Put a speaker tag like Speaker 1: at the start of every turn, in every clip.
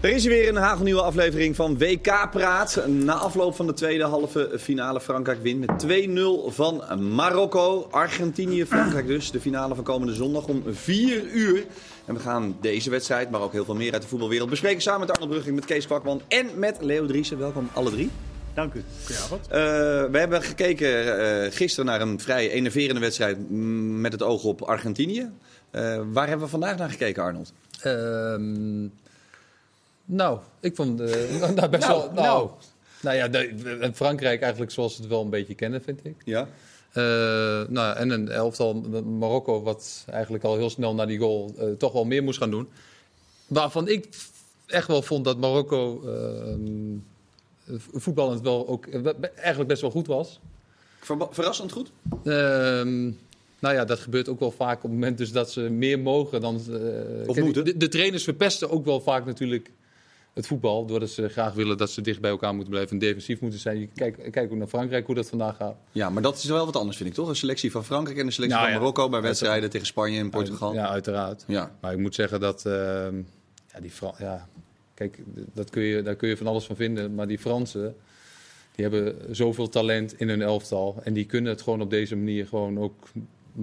Speaker 1: Er is weer een hagelnieuwe aflevering van WK Praat. Na afloop van de tweede halve finale Frankrijk wint met 2-0 van Marokko. Argentinië, Frankrijk dus. De finale van komende zondag om 4 uur. En we gaan deze wedstrijd, maar ook heel veel meer uit de voetbalwereld bespreken. Samen met Arno Brugging, met Kees Kwakman en met Leo Driessen. Welkom alle drie.
Speaker 2: Dank u. Goedenavond.
Speaker 1: Eh, we hebben gekeken eh, gisteren naar een vrij enerverende wedstrijd mm, met het oog op Argentinië. Eh, waar hebben we vandaag naar gekeken, Arnold?
Speaker 3: Ehm, nou, ik vond eh, nou, nou, best wel. Nou, nou. ja, de- de- Frankrijk eigenlijk zoals we het wel een beetje kennen, vind ik.
Speaker 1: Ja.
Speaker 3: Eh, nou, en een elftal Marokko, wat eigenlijk al heel snel na die goal eh, toch wel meer moest gaan doen. Waarvan ik echt wel vond dat Marokko ehm, voetballend wel ook eh, be- eigenlijk best wel goed was.
Speaker 1: Verba- Verrassend goed.
Speaker 3: Ehm, nou ja, dat gebeurt ook wel vaak op het moment dus dat ze meer mogen dan... eh, kijk,
Speaker 1: moeten.
Speaker 3: De, de trainers verpesten ook wel vaak natuurlijk het voetbal. Doordat ze graag willen dat ze dicht bij elkaar moeten blijven en defensief moeten zijn. Je Kijk, kijk ook naar Frankrijk, hoe dat vandaag gaat.
Speaker 1: Ja, maar dat is wel wat anders, vind ik toch? Een selectie van Frankrijk en een selectie
Speaker 3: Nou
Speaker 1: van
Speaker 3: ja.
Speaker 1: Marokko bij wedstrijden tegen Spanje en Portugal. Ja.
Speaker 3: Ja, uiteraard. Maar ik moet zeggen dat... ehm, ja, die Fran ja, kijk, d- dat kun je, daar kun je van alles van vinden. Maar die Fransen, die hebben zoveel talent in hun elftal. En die kunnen het gewoon op deze manier gewoon ook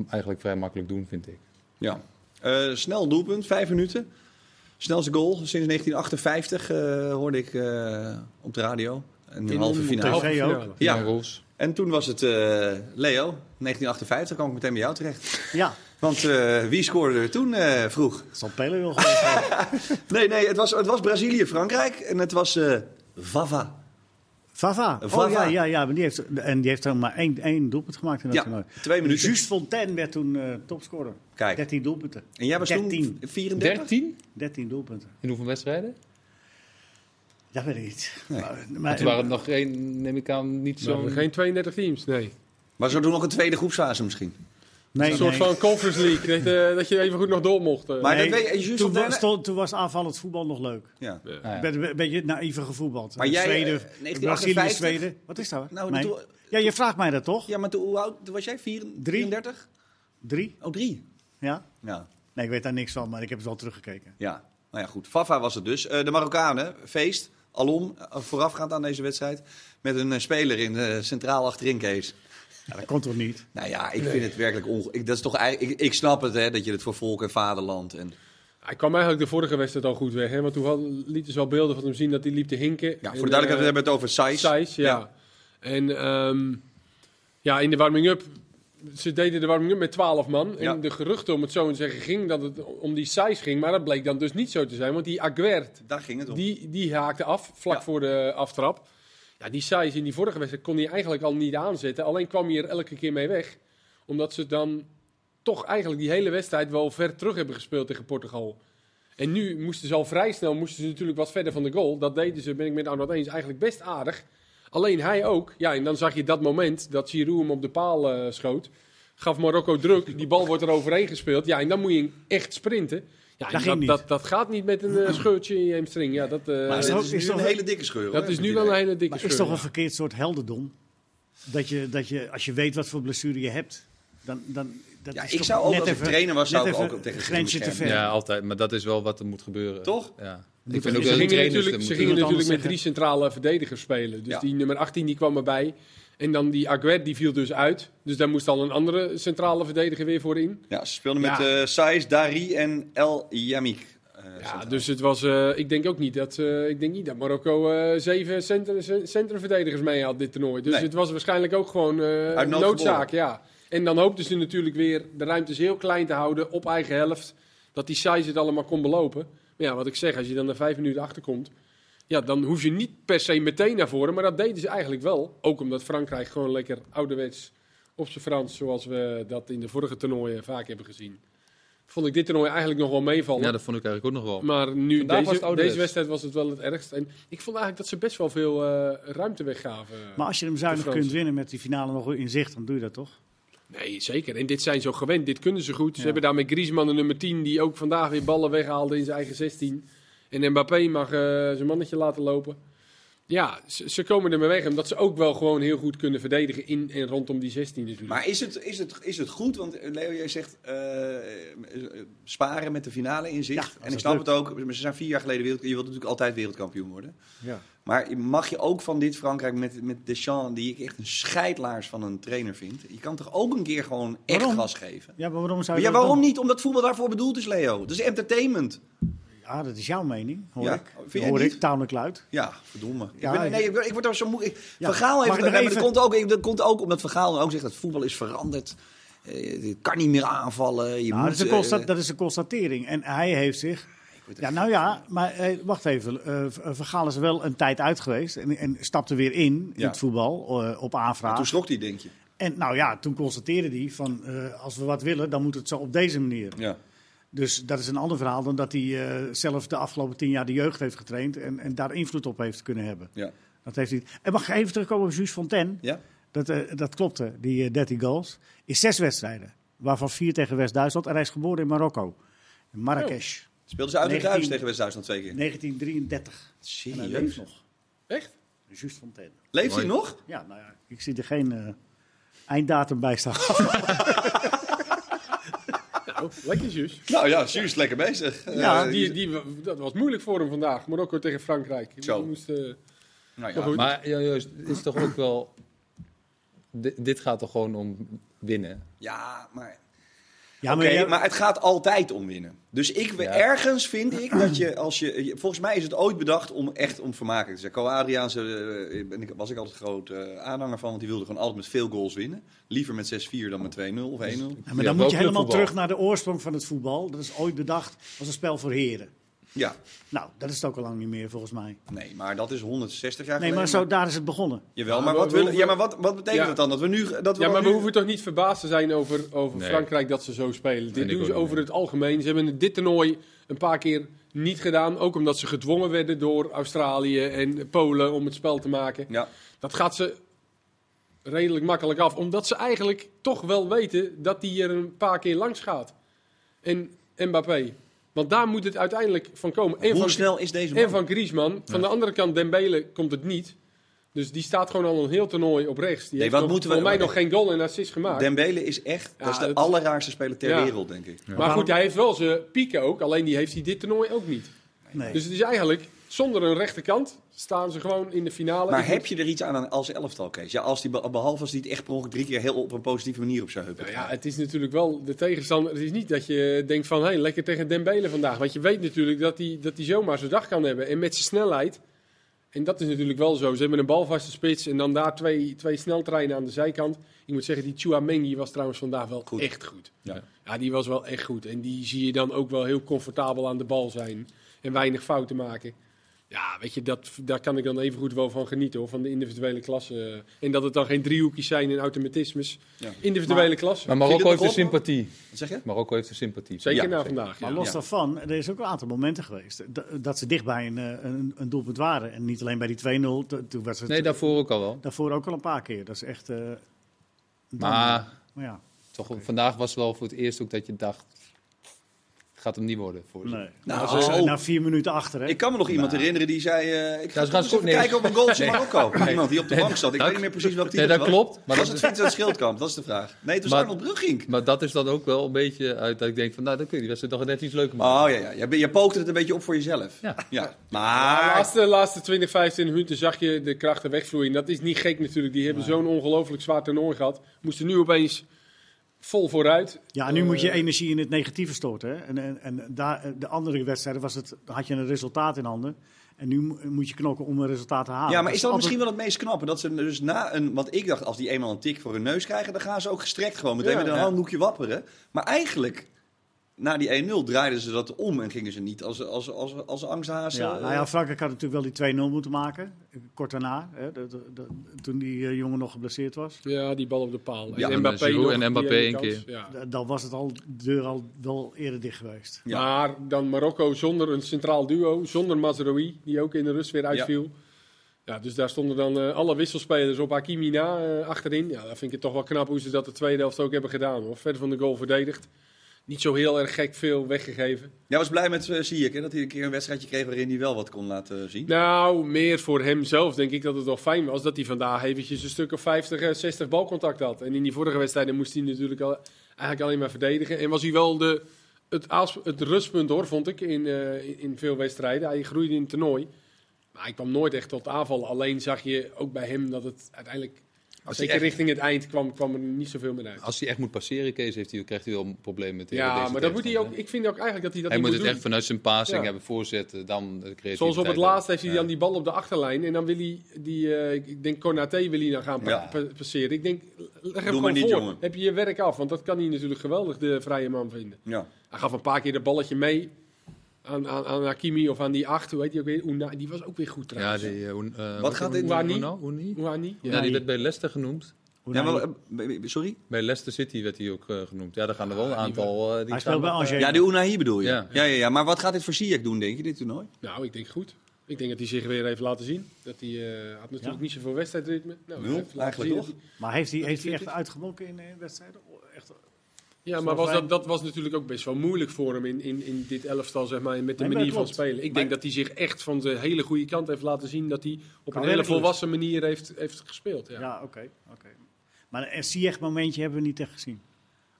Speaker 3: eigenlijk vrij makkelijk doen, vind ik.
Speaker 1: ja. Eh, snel doelpunt, vijf minuten. Snelste goal sinds 1958 eh, hoorde ik eh, op de radio. Een halve finale.
Speaker 2: TV ook.
Speaker 1: Ja.
Speaker 3: Jan Roels.
Speaker 1: En toen was het eh, Leo, 1958, kwam ik meteen bij jou terecht.
Speaker 2: Ja,
Speaker 1: Want eh, wie scoorde er toen eh, vroeg?
Speaker 2: dat zal Pele wel geweest zijn.
Speaker 1: Nee, nee, het was, het was Brazilië-Frankrijk en het was eh Vava.
Speaker 2: Vava.
Speaker 1: Vava.
Speaker 2: Oh, ja, ja, ja, maar die heeft, en die heeft er maar één, één doelpunt gemaakt in dat
Speaker 1: Ja,
Speaker 2: toernooi.
Speaker 1: twee minuten.
Speaker 2: Just Fontaine werd toen eh, topscorer.
Speaker 1: Kijk.
Speaker 2: 13 doelpunten.
Speaker 1: En jij was
Speaker 2: 13.
Speaker 1: toen 34?
Speaker 3: 13?
Speaker 2: 13 doelpunten.
Speaker 3: In hoeveel wedstrijden?
Speaker 2: Dat weet ik niet. Maar,
Speaker 3: Maar
Speaker 2: maar,
Speaker 3: toen waren het nog geen, neem ik aan, niet
Speaker 4: We hebben
Speaker 3: zo'n...
Speaker 4: Nou, geen 32 teams, nee.
Speaker 1: Maar zo doen nog een tweede groepsfase misschien.
Speaker 2: nee,
Speaker 4: Een soort
Speaker 2: nee.
Speaker 4: van Conference League, dat, eh, dat je even goed nog door mocht. eh.
Speaker 1: Maar
Speaker 2: Nee,
Speaker 1: dat weet je, Just
Speaker 2: toen,
Speaker 1: Fontaine-
Speaker 2: was, stond- toen was aanvallend voetbal nog leuk.
Speaker 1: Ja.
Speaker 3: Ah,
Speaker 2: Ik
Speaker 3: ja.
Speaker 2: ben een beetje naïeve gevoetbald.
Speaker 1: Maar jij, eh,
Speaker 2: Zweden,
Speaker 1: 1958?
Speaker 2: Brazilië, Zweden. Wat is dat?
Speaker 1: Nou,
Speaker 2: Nee.
Speaker 1: toen-
Speaker 2: Ja, je vraagt mij dat toch?
Speaker 1: Ja, maar toen, hoe oud was jij? Vier- 34?
Speaker 2: Drie?
Speaker 1: Oh, drie.
Speaker 2: Ja?
Speaker 1: Ja.
Speaker 2: Nee, ik weet daar niks van, maar ik heb het wel teruggekeken.
Speaker 1: ja. Nou ja, goed. Fafa was het dus. Eh, de Marokkanen, feest, alom, eh, voorafgaand aan deze wedstrijd. Met een eh, speler in eh, centraal achterin, Kees.
Speaker 2: Ja, dat kon toch niet?
Speaker 1: Nou ja, ik vind het werkelijk onge... Ik, dat is toch eigenlijk... Ik, ik snap het, hè, dat je het voor volk en vaderland... En...
Speaker 4: Hij kwam eigenlijk de vorige wedstrijd al goed weg, hè? want toen had- lieten ze wel beelden van hem zien dat hij liep te hinken.
Speaker 1: Ja, voor de duidelijkheid, we hebben we het over Saiz.
Speaker 4: size, ja. En ehm, ja, in de warming-up, ze deden de warming-up met 12 man.
Speaker 1: Ja.
Speaker 4: En de geruchten, om het zo te zeggen, ging dat het om die size ging. Maar dat bleek dan dus niet zo te zijn, want die Aguert,
Speaker 1: Daar ging het om.
Speaker 4: die, die haakte af vlak
Speaker 1: Ja.
Speaker 4: voor de aftrap. Ja, die size in die vorige wedstrijd kon hij eigenlijk al niet aanzetten. Alleen kwam hij er elke keer mee weg. Omdat ze dan toch eigenlijk die hele wedstrijd wel ver terug hebben gespeeld tegen Portugal. En nu moesten ze al vrij snel, moesten ze natuurlijk wat verder van de goal. Dat deden ze, ben ik met Arnold eens, eigenlijk best aardig. Alleen hij ook. Ja, en dan zag je dat moment dat Giroud hem op de paal eh, schoot. Gaf Marokko druk, die bal wordt er overheen gespeeld. Ja, en dan moet je echt sprinten. Ja, en
Speaker 2: Dat ging niet.
Speaker 4: dat, dat gaat niet met een eh, scheurtje in je hamstring. Ja, dat, eh,
Speaker 1: Maar
Speaker 2: is
Speaker 1: dat
Speaker 2: toch-
Speaker 1: is nu
Speaker 2: is toch-
Speaker 1: een hele dikke scheur. hoor,
Speaker 4: dat
Speaker 1: heb
Speaker 4: is
Speaker 1: ik
Speaker 4: nu
Speaker 1: het
Speaker 4: wel een
Speaker 1: idee.
Speaker 4: hele dikke
Speaker 2: Maar is
Speaker 4: scheur.
Speaker 2: toch een verkeerd soort heldendom? Dat je, dat je, als je weet wat voor blessure je hebt, dan... dan dat
Speaker 1: Ja,
Speaker 2: is
Speaker 1: ik
Speaker 2: toch
Speaker 1: zou ook,
Speaker 2: net
Speaker 1: als ik
Speaker 2: even-
Speaker 1: trainer was, zou
Speaker 2: net
Speaker 1: ik ook
Speaker 2: even
Speaker 1: tegen
Speaker 2: een
Speaker 1: het
Speaker 2: grensje te
Speaker 1: scherm.
Speaker 2: ver.
Speaker 3: ja, altijd. Maar dat is wel wat er moet gebeuren.
Speaker 1: Toch?
Speaker 3: Ja.
Speaker 2: Moet
Speaker 3: Ik vind
Speaker 2: er-
Speaker 3: ook dat de
Speaker 4: Ze gingen
Speaker 3: trainers
Speaker 4: natuurlijk,
Speaker 3: er
Speaker 4: ze
Speaker 3: moeten-
Speaker 4: gingen
Speaker 2: Iemand anders
Speaker 4: natuurlijk met
Speaker 2: zeggen.
Speaker 4: drie centrale verdedigers spelen. Dus
Speaker 1: Ja.
Speaker 4: die nummer 18 die kwam erbij. En dan die Aguert, die viel dus uit. Dus daar moest al een andere centrale verdediger weer voor in.
Speaker 1: Ja, ze speelden met eh
Speaker 4: Ja.
Speaker 1: Saiz, Dari en El Yamik. eh,
Speaker 4: Ja,
Speaker 1: centraal.
Speaker 4: dus het was, eh, ik denk ook niet dat, eh, ik denk niet dat Marokko eh, zeven center, cent- centrumverdedigers mee had dit toernooi. Dus
Speaker 1: Nee.
Speaker 4: het was waarschijnlijk ook gewoon eh,
Speaker 1: Uit nood
Speaker 4: noodzaak. Ja. En dan hoopten ze natuurlijk weer de ruimtes heel klein te houden op eigen helft. Dat die size het allemaal kon belopen. Maar ja, wat ik zeg, als je dan na vijf minuten achterkomt. Ja, dan hoef je niet per se meteen naar voren. Maar dat deden ze eigenlijk wel. Ook omdat Frankrijk gewoon lekker ouderwets op zijn Frans. Zoals we dat in de vorige toernooien vaak hebben gezien. Vond ik dit toernooi eigenlijk nog wel meevallen.
Speaker 3: Ja, dat vond ik eigenlijk ook nog wel.
Speaker 4: Maar nu,
Speaker 3: Vandaag was het
Speaker 4: deze,
Speaker 3: ouderwets.
Speaker 4: deze wedstrijd was het wel het ergst. En ik vond eigenlijk dat ze best wel veel eh, ruimte weggaven.
Speaker 2: Maar als je hem zuinig
Speaker 4: De Fransen.
Speaker 2: kunt winnen met die finale nog in zicht, dan doe je dat toch?
Speaker 4: Nee, zeker. En dit zijn ze ook gewend. Dit kunnen ze goed. Ze
Speaker 2: Ja.
Speaker 4: hebben daar met Griezmann de nummer 10, die ook vandaag weer ballen weghaalde in zijn eigen 16. En Mbappé mag eh, zijn mannetje laten lopen. Ja, ze, ze komen ermee weg. Omdat ze ook wel gewoon heel goed kunnen verdedigen in en rondom die 16 natuurlijk.
Speaker 1: Maar is het, is, het, is het goed? Want eh, Leo, jij zegt eh, eh, sparen met de finale in
Speaker 2: Ja,
Speaker 1: zicht.
Speaker 2: als
Speaker 1: en ik
Speaker 2: dat
Speaker 1: snap
Speaker 2: lukt.
Speaker 1: het ook. maar Ze zijn vier jaar geleden wereld, je wilt natuurlijk altijd wereldkampioen worden.
Speaker 2: Ja.
Speaker 1: Maar mag je ook van dit Frankrijk met, met Deschamps, die ik echt een scheidlaars van een trainer vind. Je kan toch ook een keer gewoon echt
Speaker 2: Waarom?
Speaker 1: gas geven?
Speaker 2: ja, maar waarom zou
Speaker 1: Maar
Speaker 2: je
Speaker 1: ja,
Speaker 2: dat
Speaker 1: waarom
Speaker 2: dan-
Speaker 1: niet? Omdat voetbal daarvoor bedoeld is, Leo. Dat is entertainment.
Speaker 2: Ja, Ah, dat is jouw mening, hoor
Speaker 1: Ja, Oh,
Speaker 2: ik.
Speaker 1: vind jij
Speaker 2: hoor
Speaker 1: niet?
Speaker 2: ik, tamelijk luid.
Speaker 1: Ja, verdomme.
Speaker 2: Ja,
Speaker 1: ik ben, nee,
Speaker 2: ik-
Speaker 1: ik, word- ik word daar zo moe. ik-
Speaker 2: Ja,
Speaker 1: van Gaal heeft
Speaker 2: mag ik
Speaker 1: nee,
Speaker 2: nog
Speaker 1: maar
Speaker 2: even-
Speaker 1: dat, komt ook, ik- dat komt ook omdat Van Gaal dan ook zegt dat voetbal is veranderd. Eh, je kan niet meer aanvallen. Je
Speaker 2: Nou,
Speaker 1: moet,
Speaker 2: dat, is een
Speaker 1: eh,
Speaker 2: consta- dat is een constatering. En hij heeft zich. Ja, nou ja, maar eh, wacht even. Eh Vergaal is er wel een tijd uit geweest en, en stapte weer in, in
Speaker 1: Ja.
Speaker 2: het voetbal eh, op aanvraag.
Speaker 1: Toen schrok hij, denk je.
Speaker 2: En nou ja, toen constateerde hij van eh, als we wat willen, dan moet het zo op deze manier.
Speaker 1: Ja.
Speaker 2: Dus dat is een ander verhaal dan dat hij eh, zelf de afgelopen tien jaar de jeugd heeft getraind en, en daar invloed op heeft kunnen hebben.
Speaker 1: Ja.
Speaker 2: Dat heeft hij. En mag ik even terugkomen op Jules Fontaine?
Speaker 1: ja.
Speaker 2: Dat, eh, dat klopte, die eh, 13 goals. In zes wedstrijden, waarvan vier tegen West-Duitsland. En hij is geboren in Marokko, in Marrakesh.
Speaker 1: Speelden ze uit het
Speaker 2: 19
Speaker 1: thuis tegen West-Duitsland twee keer.
Speaker 2: 1933. En hij leeft
Speaker 1: Serieus?
Speaker 2: nog.
Speaker 4: Echt?
Speaker 2: Jules Fontaine.
Speaker 1: Leeft hij
Speaker 3: Mooi.
Speaker 1: nog?
Speaker 2: Ja, nou ja, ik zie er geen eh, einddatum bij staan.
Speaker 4: Nou, lekker juist.
Speaker 1: Nou ja, Suus, lekker bezig.
Speaker 2: Ja,
Speaker 1: Eh,
Speaker 4: Die, die, dat was moeilijk voor hem vandaag. Marokko tegen Frankrijk. Die
Speaker 1: Zo.
Speaker 4: moest, eh,
Speaker 1: nou
Speaker 4: maar
Speaker 1: ja.
Speaker 4: goed.
Speaker 3: Maar ja, juist, het is toch ook wel... Di- dit gaat toch gewoon om winnen?
Speaker 1: Ja, maar,
Speaker 2: ja,
Speaker 1: Oké,
Speaker 2: ja,
Speaker 1: maar het gaat altijd om winnen. Dus ik, we-
Speaker 3: Ja.
Speaker 1: ergens vind ik dat je, als je, je- volgens mij is het ooit bedacht om echt om vermakelijk te zijn. Ko Adriaanse eh, ben ik, was ik altijd groot eh, aanhanger van, want die wilde gewoon altijd met veel goals winnen. Liever met 6-4 dan met 2-0 of 1-0.
Speaker 2: Ja, maar dan
Speaker 3: Ja,
Speaker 2: moet je
Speaker 3: welk
Speaker 2: helemaal
Speaker 3: voetbal?
Speaker 2: terug naar de oorsprong van het voetbal. Dat is ooit bedacht als een spel voor heren.
Speaker 1: Ja,
Speaker 2: Nou, dat is het ook al lang niet meer volgens mij.
Speaker 1: nee, maar dat is 160 jaar
Speaker 2: Nee,
Speaker 1: geleden.
Speaker 2: maar zo, daar is het begonnen.
Speaker 1: Jawel,
Speaker 4: Ja,
Speaker 1: maar
Speaker 4: maar
Speaker 1: wat,
Speaker 4: we
Speaker 1: willen,
Speaker 4: hoeven-
Speaker 1: ja, maar wat, wat betekent
Speaker 4: Ja.
Speaker 1: dat dan? Dat we nu, dat we
Speaker 4: Ja,
Speaker 1: dan
Speaker 4: maar we
Speaker 1: nu-
Speaker 4: hoeven toch niet verbaasd te zijn over, over
Speaker 3: Nee.
Speaker 4: Frankrijk dat ze zo spelen.
Speaker 3: Nee,
Speaker 4: Dit
Speaker 3: ik
Speaker 4: doen
Speaker 3: ook
Speaker 4: ze
Speaker 3: niet,
Speaker 4: over
Speaker 3: nee.
Speaker 4: het algemeen. Ze hebben dit toernooi een paar keer niet gedaan. Ook omdat ze gedwongen werden door Australië en Polen om het spel te maken.
Speaker 1: Ja,
Speaker 4: Dat gaat ze redelijk makkelijk af. Omdat ze eigenlijk toch wel weten dat die er een paar keer langs gaat. En Mbappé. Want daar moet het uiteindelijk van komen. En
Speaker 1: hoe
Speaker 4: van,
Speaker 1: snel is deze man?
Speaker 4: en van Griezmann. Van de andere kant, Dembele komt het niet. Dus die staat gewoon al een heel toernooi op rechts. Die heeft
Speaker 1: wat
Speaker 4: nog-
Speaker 1: moeten we-
Speaker 4: voor mij nog geen goal en assist gemaakt.
Speaker 1: Dembele is echt,
Speaker 4: Ja,
Speaker 1: dat is de
Speaker 4: dat-
Speaker 1: allerraarste speler ter
Speaker 4: Ja.
Speaker 1: wereld, denk ik.
Speaker 4: Maar goed, hij heeft wel zijn pieken ook. Alleen die heeft hij dit toernooi ook niet.
Speaker 2: Nee.
Speaker 4: Dus het is eigenlijk, zonder een rechterkant, staan ze gewoon in de finale.
Speaker 1: Maar
Speaker 4: Ik
Speaker 1: heb je er iets aan als elftal, Kees? Ja, als die, be- behalve als die het echt per ongeluk drie keer heel op een positieve manier op zijn heupen.
Speaker 4: Nou
Speaker 1: gaat.
Speaker 4: ja, het is natuurlijk wel de tegenstander. Het is niet dat je denkt van, hé, hey, lekker tegen Dembele vandaag. Want je weet natuurlijk dat hij dat die zomaar zijn dag kan hebben. En met zijn snelheid. En dat is natuurlijk wel zo. Ze hebben een balvaste spits en dan daar twee, twee sneltreinen aan de zijkant. Ik moet zeggen, die Chouamengi was trouwens vandaag wel
Speaker 1: Goed.
Speaker 4: echt goed.
Speaker 1: Ja.
Speaker 4: ja, die was wel echt goed. En die zie je dan ook wel heel comfortabel aan de bal zijn. En weinig fouten maken. Ja, weet je, dat, daar kan ik dan even goed wel van genieten hoor, van de individuele klasse. En dat het dan geen driehoekjes zijn en automatismes.
Speaker 1: Ja.
Speaker 4: Individuele klasse.
Speaker 3: Maar
Speaker 1: Viel
Speaker 3: Marokko
Speaker 1: het
Speaker 3: heeft
Speaker 1: nog
Speaker 3: de sympathie.
Speaker 1: Wat zeg je?
Speaker 3: Marokko heeft de sympathie.
Speaker 4: Zeker
Speaker 1: Ja,
Speaker 4: na
Speaker 1: zeker.
Speaker 4: vandaag.
Speaker 2: Maar
Speaker 4: ja.
Speaker 2: los
Speaker 1: Ja.
Speaker 2: daarvan, er is ook een aantal momenten geweest dat, dat ze dicht bij een, eh, een, een doelpunt waren. En niet alleen bij die 2-0, to- toen was het
Speaker 3: Nee, daarvoor ook al wel.
Speaker 2: daarvoor ook al een paar keer. Dat is echt... eh, een tandem.
Speaker 3: Maar
Speaker 2: Maar ja,
Speaker 3: toch, vandaag was wel voor het eerst ook dat je dacht... Het gaat hem niet worden. Voor ze.
Speaker 2: nee.
Speaker 1: Nou,
Speaker 2: Ze zijn
Speaker 1: oh.
Speaker 2: na vier minuten achter, hè?
Speaker 1: Ik kan me nog iemand herinneren die zei... eh, ik ga
Speaker 3: Ja, ze gaan
Speaker 1: eens even
Speaker 3: goed, nee.
Speaker 1: kijken op een goal van
Speaker 3: Nee.
Speaker 1: Marokko. Iemand die op de bank zat. Ik
Speaker 3: dat-
Speaker 1: weet niet meer precies welk team
Speaker 3: Nee,
Speaker 1: het
Speaker 3: dat
Speaker 1: was.
Speaker 3: klopt. Maar
Speaker 1: was
Speaker 3: dat-
Speaker 1: het Vincent Schildkamp? Dat is de vraag. Nee, het was
Speaker 3: Maar-
Speaker 1: Arnold Brugging.
Speaker 3: Maar dat is dan ook wel een beetje uit dat ik denk van... Nou, dan kun je die wedstrijd nog net iets leuker maken.
Speaker 1: Oh ja, ja. Je, je pookte het een beetje op voor jezelf.
Speaker 3: Ja.
Speaker 4: Maar de
Speaker 1: Maar...
Speaker 4: laatste, laatste 20, 25 minuten zag je de krachten wegvloeien. Dat is niet gek natuurlijk. Die hebben zo'n ongelooflijk zwaar toernooi gehad. Moesten nu opeens vol vooruit.
Speaker 2: Ja, nu
Speaker 4: Eh,
Speaker 2: moet je energie in het negatieve storten. Hè? En, en, en daar, eh, de andere wedstrijden was het, had je een resultaat in handen. En nu mo- moet je knokken om een resultaat te halen.
Speaker 1: Ja, maar is dat
Speaker 2: Ah, altijd-
Speaker 1: misschien wel het meest knappe? Dat ze dus na een... Want ik dacht, als die eenmaal een tik voor hun neus krijgen... dan gaan ze ook gestrekt gewoon meteen
Speaker 4: Ja,
Speaker 1: met een
Speaker 4: ja.
Speaker 1: handdoekje wapperen. Maar eigenlijk... Na die 1-0 draaiden ze dat om en gingen ze niet als, als, als, als angsthazen.
Speaker 2: Ja, nou
Speaker 1: eh,
Speaker 2: ja, Frankrijk had natuurlijk wel die 2-0 moeten maken. eh, Kort daarna, hè? de- de- de- toen die eh, jongen nog geblesseerd was.
Speaker 4: Ja, die bal op de paal.
Speaker 1: Ja,
Speaker 4: en
Speaker 1: en
Speaker 4: Mbappé
Speaker 3: Giroud
Speaker 4: nog,
Speaker 3: en
Speaker 4: die
Speaker 3: Mbappé
Speaker 4: ene
Speaker 3: één
Speaker 4: kans.
Speaker 3: keer.
Speaker 4: Ja.
Speaker 2: D- Dan was het al, de deur al wel eerder dicht geweest.
Speaker 1: Ja.
Speaker 4: Maar dan Marokko zonder een centraal duo. Zonder Mazraoui, die ook in de rust weer uitviel. Ja. dus daar stonden dan eh, alle wisselspelers op Hakimi na eh, achterin. Ja, dan vind ik het toch wel knap hoe ze dat de tweede helft ook hebben gedaan. Hoor. Verder van de goal verdedigd. niet zo heel erg gek veel weggegeven.
Speaker 1: Jij was blij met eh, Ziyech, hè? dat hij een keer een wedstrijdje kreeg waarin hij wel wat kon laten zien.
Speaker 4: Nou, meer voor hemzelf denk ik dat het wel fijn was dat hij vandaag eventjes een stuk of 50, eh, 60 balcontact had. En in die vorige wedstrijden moest hij natuurlijk al, eigenlijk alleen maar verdedigen. En was hij wel de, het, aas- het rustpunt hoor, vond ik, in, eh, in- in veel wedstrijden. Hij groeide in het toernooi. Maar hij kwam nooit echt tot aanval. Alleen zag je ook bij hem dat het uiteindelijk,
Speaker 3: Als hij,
Speaker 4: zeker
Speaker 3: echt,
Speaker 4: richting het eind, kwam, kwam er niet zoveel meer uit.
Speaker 3: als hij echt moet passeren, Kees, heeft hij, krijgt hij wel problemen met de- met
Speaker 4: Ah. Ja,
Speaker 3: deze
Speaker 4: maar dat moet hij ook,
Speaker 3: tegenstander, hè?
Speaker 4: ik vind ook eigenlijk dat hij dat
Speaker 3: Hij
Speaker 4: niet
Speaker 3: moet
Speaker 4: moet
Speaker 3: het
Speaker 4: doen.
Speaker 3: echt vanuit zijn passing
Speaker 4: Ja.
Speaker 3: hebben, voorzetten, dan de creativiteit.
Speaker 4: Zoals op het
Speaker 3: hebben.
Speaker 4: laatst heeft hij
Speaker 3: Ja.
Speaker 4: dan die bal op de achterlijn. En dan wil hij die, eh, ik- ik denk Konaté wil hij dan gaan pa-
Speaker 1: Ja.
Speaker 4: pa- passeren. Ik denk, leg hem
Speaker 1: maar
Speaker 4: gewoon
Speaker 1: niet,
Speaker 4: voor.
Speaker 1: jongen.
Speaker 4: Heb je je werk af. Want dat kan hij natuurlijk geweldig de vrije man vinden.
Speaker 1: Ja.
Speaker 4: Hij gaf een paar keer dat balletje mee aan, aan, aan Hakimi of aan die acht. Hoe heet die ook weer? Oena, die was ook weer goed
Speaker 3: Ja,
Speaker 4: trouwens.
Speaker 3: die, eh, Oen- eh,
Speaker 1: Wat gaat dit-
Speaker 3: Oen-
Speaker 4: Oeni?
Speaker 3: Oeno? Oeni?
Speaker 4: Oani? Ja.
Speaker 3: Ja, die werd bij Leicester genoemd.
Speaker 2: Hoe
Speaker 1: Ja,
Speaker 2: nou-
Speaker 1: maar, eh, sorry?
Speaker 3: Bij Leicester City werd hij ook eh, genoemd. Ja, daar gaan er wel een aantal. eh, die
Speaker 2: hij
Speaker 3: gaan
Speaker 2: speelt bij
Speaker 3: nog, eh,
Speaker 2: Angers.
Speaker 1: Ja, de Unai bedoel je. Ja.
Speaker 3: Ja.
Speaker 1: Ja, ja, Maar wat gaat dit voor Ziyech doen, denk je, dit toernooi?
Speaker 4: Nou, ik denk goed. Ik denk dat hij zich weer heeft laten zien. Dat hij eh, had natuurlijk
Speaker 2: Ja.
Speaker 4: niet zoveel wedstrijdritme. Nou,
Speaker 1: Nul,
Speaker 4: hij heeft laten
Speaker 1: eigenlijk
Speaker 4: zien
Speaker 1: toch?
Speaker 4: dat hij-
Speaker 2: Maar heeft hij, heeft hij
Speaker 4: vind
Speaker 2: echt
Speaker 4: ik.
Speaker 2: uitgemolken in, in wedstrijden? Echt,
Speaker 4: Ja,
Speaker 2: Zo
Speaker 4: maar was
Speaker 2: fijn.
Speaker 4: dat, dat was natuurlijk ook best wel moeilijk voor hem in, in, in dit elftal, zeg maar, en met de
Speaker 2: Nee, maar
Speaker 4: manier
Speaker 2: dat
Speaker 4: van
Speaker 2: klopt.
Speaker 4: spelen. Ik
Speaker 2: Maar-
Speaker 4: denk dat hij zich echt van de hele goede kant heeft laten zien dat hij op
Speaker 2: Kan
Speaker 4: een hele
Speaker 2: werkelijk.
Speaker 4: volwassen manier heeft, heeft gespeeld. Ja.
Speaker 2: ja, oké. oké. Maar een Ziyech momentje hebben we niet echt gezien.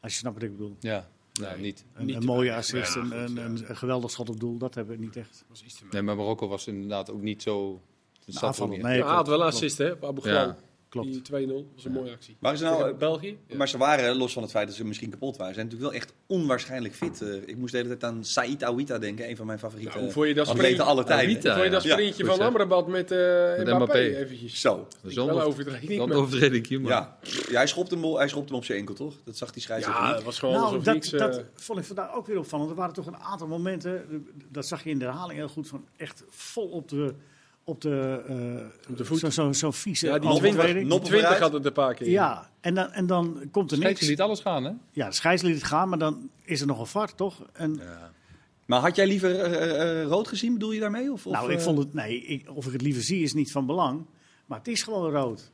Speaker 2: Als je snapt wat ik bedoel.
Speaker 3: Ja, nou niet.
Speaker 2: Een,
Speaker 4: Niet
Speaker 2: een
Speaker 4: te
Speaker 2: mooie
Speaker 4: weinig.
Speaker 2: assist,
Speaker 4: Ja,
Speaker 2: een,
Speaker 4: goed,
Speaker 2: een,
Speaker 4: ja.
Speaker 2: een- een geweldig schot op doel, dat hebben we niet echt.
Speaker 4: Was iets te maken.
Speaker 3: Nee, maar Marokko was inderdaad ook niet zo. Het zat
Speaker 2: aanvallen,
Speaker 3: ook niet.
Speaker 2: Nou, nee.
Speaker 4: Ja, hij had wel een
Speaker 2: klopt.
Speaker 4: assist, hè, op Abu
Speaker 3: Ja,
Speaker 4: Ghal.
Speaker 2: Klopt.
Speaker 4: Die 2-0, was een mooie actie.
Speaker 1: Waar is nou,
Speaker 4: Tegen
Speaker 1: eh,
Speaker 4: België? Ja.
Speaker 1: Maar ze waren, los van het feit dat ze misschien kapot waren, zijn natuurlijk wel echt onwaarschijnlijk fit. Eh, ik moest de hele tijd aan Said Awita denken, een van mijn favoriete
Speaker 4: Nou, hoe vond je dat
Speaker 1: atleten
Speaker 4: sprint-
Speaker 1: alle tijden.
Speaker 3: Awita?
Speaker 4: Toen vond je dat
Speaker 1: Ja,
Speaker 4: sprintje
Speaker 3: goed
Speaker 4: van
Speaker 3: zeg.
Speaker 4: Amrabat met, eh Mbappé,
Speaker 3: Mbappé.
Speaker 4: eventjes?
Speaker 1: Zo.
Speaker 3: Dat is
Speaker 4: Wel
Speaker 3: wel
Speaker 4: overdreven.
Speaker 3: een
Speaker 4: maar-
Speaker 3: overtreding, hier, man.
Speaker 1: Ja. ja, hij schopte hem, wel- hij schopte hem op zijn enkel, toch? Dat zag die scheidsrechter
Speaker 4: Ja,
Speaker 1: niet.
Speaker 4: het was gewoon
Speaker 2: nou,
Speaker 4: alsof
Speaker 2: dat,
Speaker 4: niks... eh,
Speaker 2: dat vond ik vandaag ook weer opvallend. Er waren toch een aantal momenten, eh, dat zag je in de herhaling heel goed, van echt vol op de, op de, eh,
Speaker 4: Op de voet.
Speaker 2: Zo, zo, zo vieze
Speaker 4: ja, die
Speaker 1: Noppen
Speaker 2: overtreding.
Speaker 4: twintig-
Speaker 1: vooruit.
Speaker 4: die
Speaker 1: Noppen
Speaker 4: 20
Speaker 1: vooruit.
Speaker 4: had het een paar keer.
Speaker 2: Ja, en dan, en dan komt er
Speaker 3: Scheids
Speaker 2: niks.
Speaker 3: liet alles gaan, hè?
Speaker 2: Ja, de scheids liet het gaan, maar dan is er nog een var, toch? En,
Speaker 1: Maar had jij liever eh, eh, rood gezien, bedoel je daarmee? Of, of,
Speaker 2: nou, ik
Speaker 1: eh,
Speaker 2: vond het, nee, ik, of ik het liever zie is niet van belang, maar het is gewoon rood.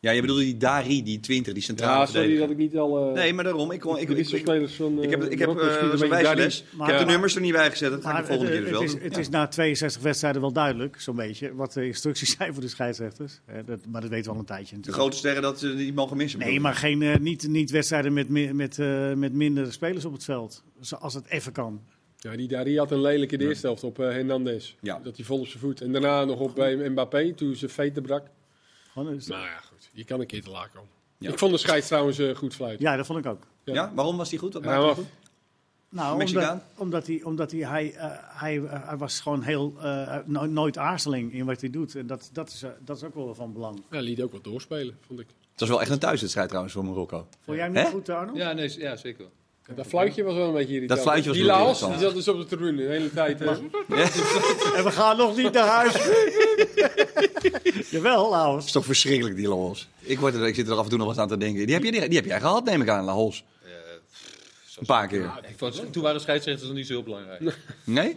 Speaker 1: Ja, je bedoelde die Dari, die 20, die centrale
Speaker 4: Ja, sorry
Speaker 1: verdediger.
Speaker 4: dat ik niet al... eh,
Speaker 1: Nee, maar daarom. Ik, kon, ik,
Speaker 4: de
Speaker 1: ik, ik, ik,
Speaker 4: wisselspelers van, eh,
Speaker 1: heb, ik heb
Speaker 4: Marokko
Speaker 1: eh,
Speaker 4: schieten
Speaker 1: zo'n
Speaker 4: een beetje
Speaker 1: wijsles.
Speaker 4: daarin.
Speaker 1: Ik
Speaker 2: Maar-
Speaker 1: heb de nummers er niet bij gezet. Dat ga ik de
Speaker 2: Maar
Speaker 1: volgende
Speaker 2: het,
Speaker 1: keer dus wel
Speaker 2: het is,
Speaker 1: doen.
Speaker 2: het
Speaker 1: Ja.
Speaker 2: is na 62 wedstrijden wel duidelijk, zo'n beetje, wat de instructies zijn voor de scheidsrechters. Eh, dat, maar dat weten we al een tijdje
Speaker 1: De
Speaker 2: natuurlijk.
Speaker 1: grote sterren dat ze niet mogen missen.
Speaker 2: Nee,
Speaker 1: bedoel
Speaker 2: maar geen, eh, niet, niet wedstrijden met, mi- met, eh, met minder spelers op het veld. Zo- Als het even kan.
Speaker 4: Ja, die Dari had een lelijke de eerste helft op eh, Hernandez.
Speaker 1: Ja.
Speaker 4: Dat hij vol op zijn voet. En daarna nog op bij Mbappé toen zijn veten brak.
Speaker 2: Gewoon, eens-
Speaker 4: Nou ja, goed. Je kan een keer te laat komen.
Speaker 1: Ja.
Speaker 4: Ik vond de scheids trouwens eh, goed fluiten.
Speaker 2: ja, dat vond ik ook.
Speaker 1: ik. Ja, waarom was die goed? Wat
Speaker 4: Ja,
Speaker 1: maakte die
Speaker 4: maar-
Speaker 1: goed?
Speaker 2: Nou,
Speaker 1: Mexicaan?
Speaker 2: omdat, omdat hij, omdat hij, hij, eh, hij, eh, hij was gewoon heel, eh, no- nooit aarzeling in wat hij doet. En dat, dat, is, eh, dat is ook wel van belang.
Speaker 4: Ja, liet ook wat doorspelen, vond ik.
Speaker 1: Het was wel echt een thuiswedstrijd trouwens voor Marokko.
Speaker 2: Vond jij hem niet
Speaker 1: Hè?
Speaker 2: goed, Arno?
Speaker 3: Ja, nee, ja zeker. wel.
Speaker 4: Dat fluitje was wel een beetje irritant.
Speaker 1: Dat fluitje was
Speaker 4: Die
Speaker 1: wel
Speaker 4: Laos, die
Speaker 1: irritant.
Speaker 4: zat dus op de tribune de hele tijd. eh,
Speaker 2: En we gaan nog niet naar huis. Jawel, Laos.
Speaker 1: Het is toch verschrikkelijk, die Lahos. Ik, word er, ik zit er af en toe nog wat aan te denken. Die heb, je, die, heb jij gehad, neem ik aan, Lahos. Een paar keer.
Speaker 3: Ik vond- toen waren scheidsrechters nog niet zo heel belangrijk. Ik
Speaker 1: Nee?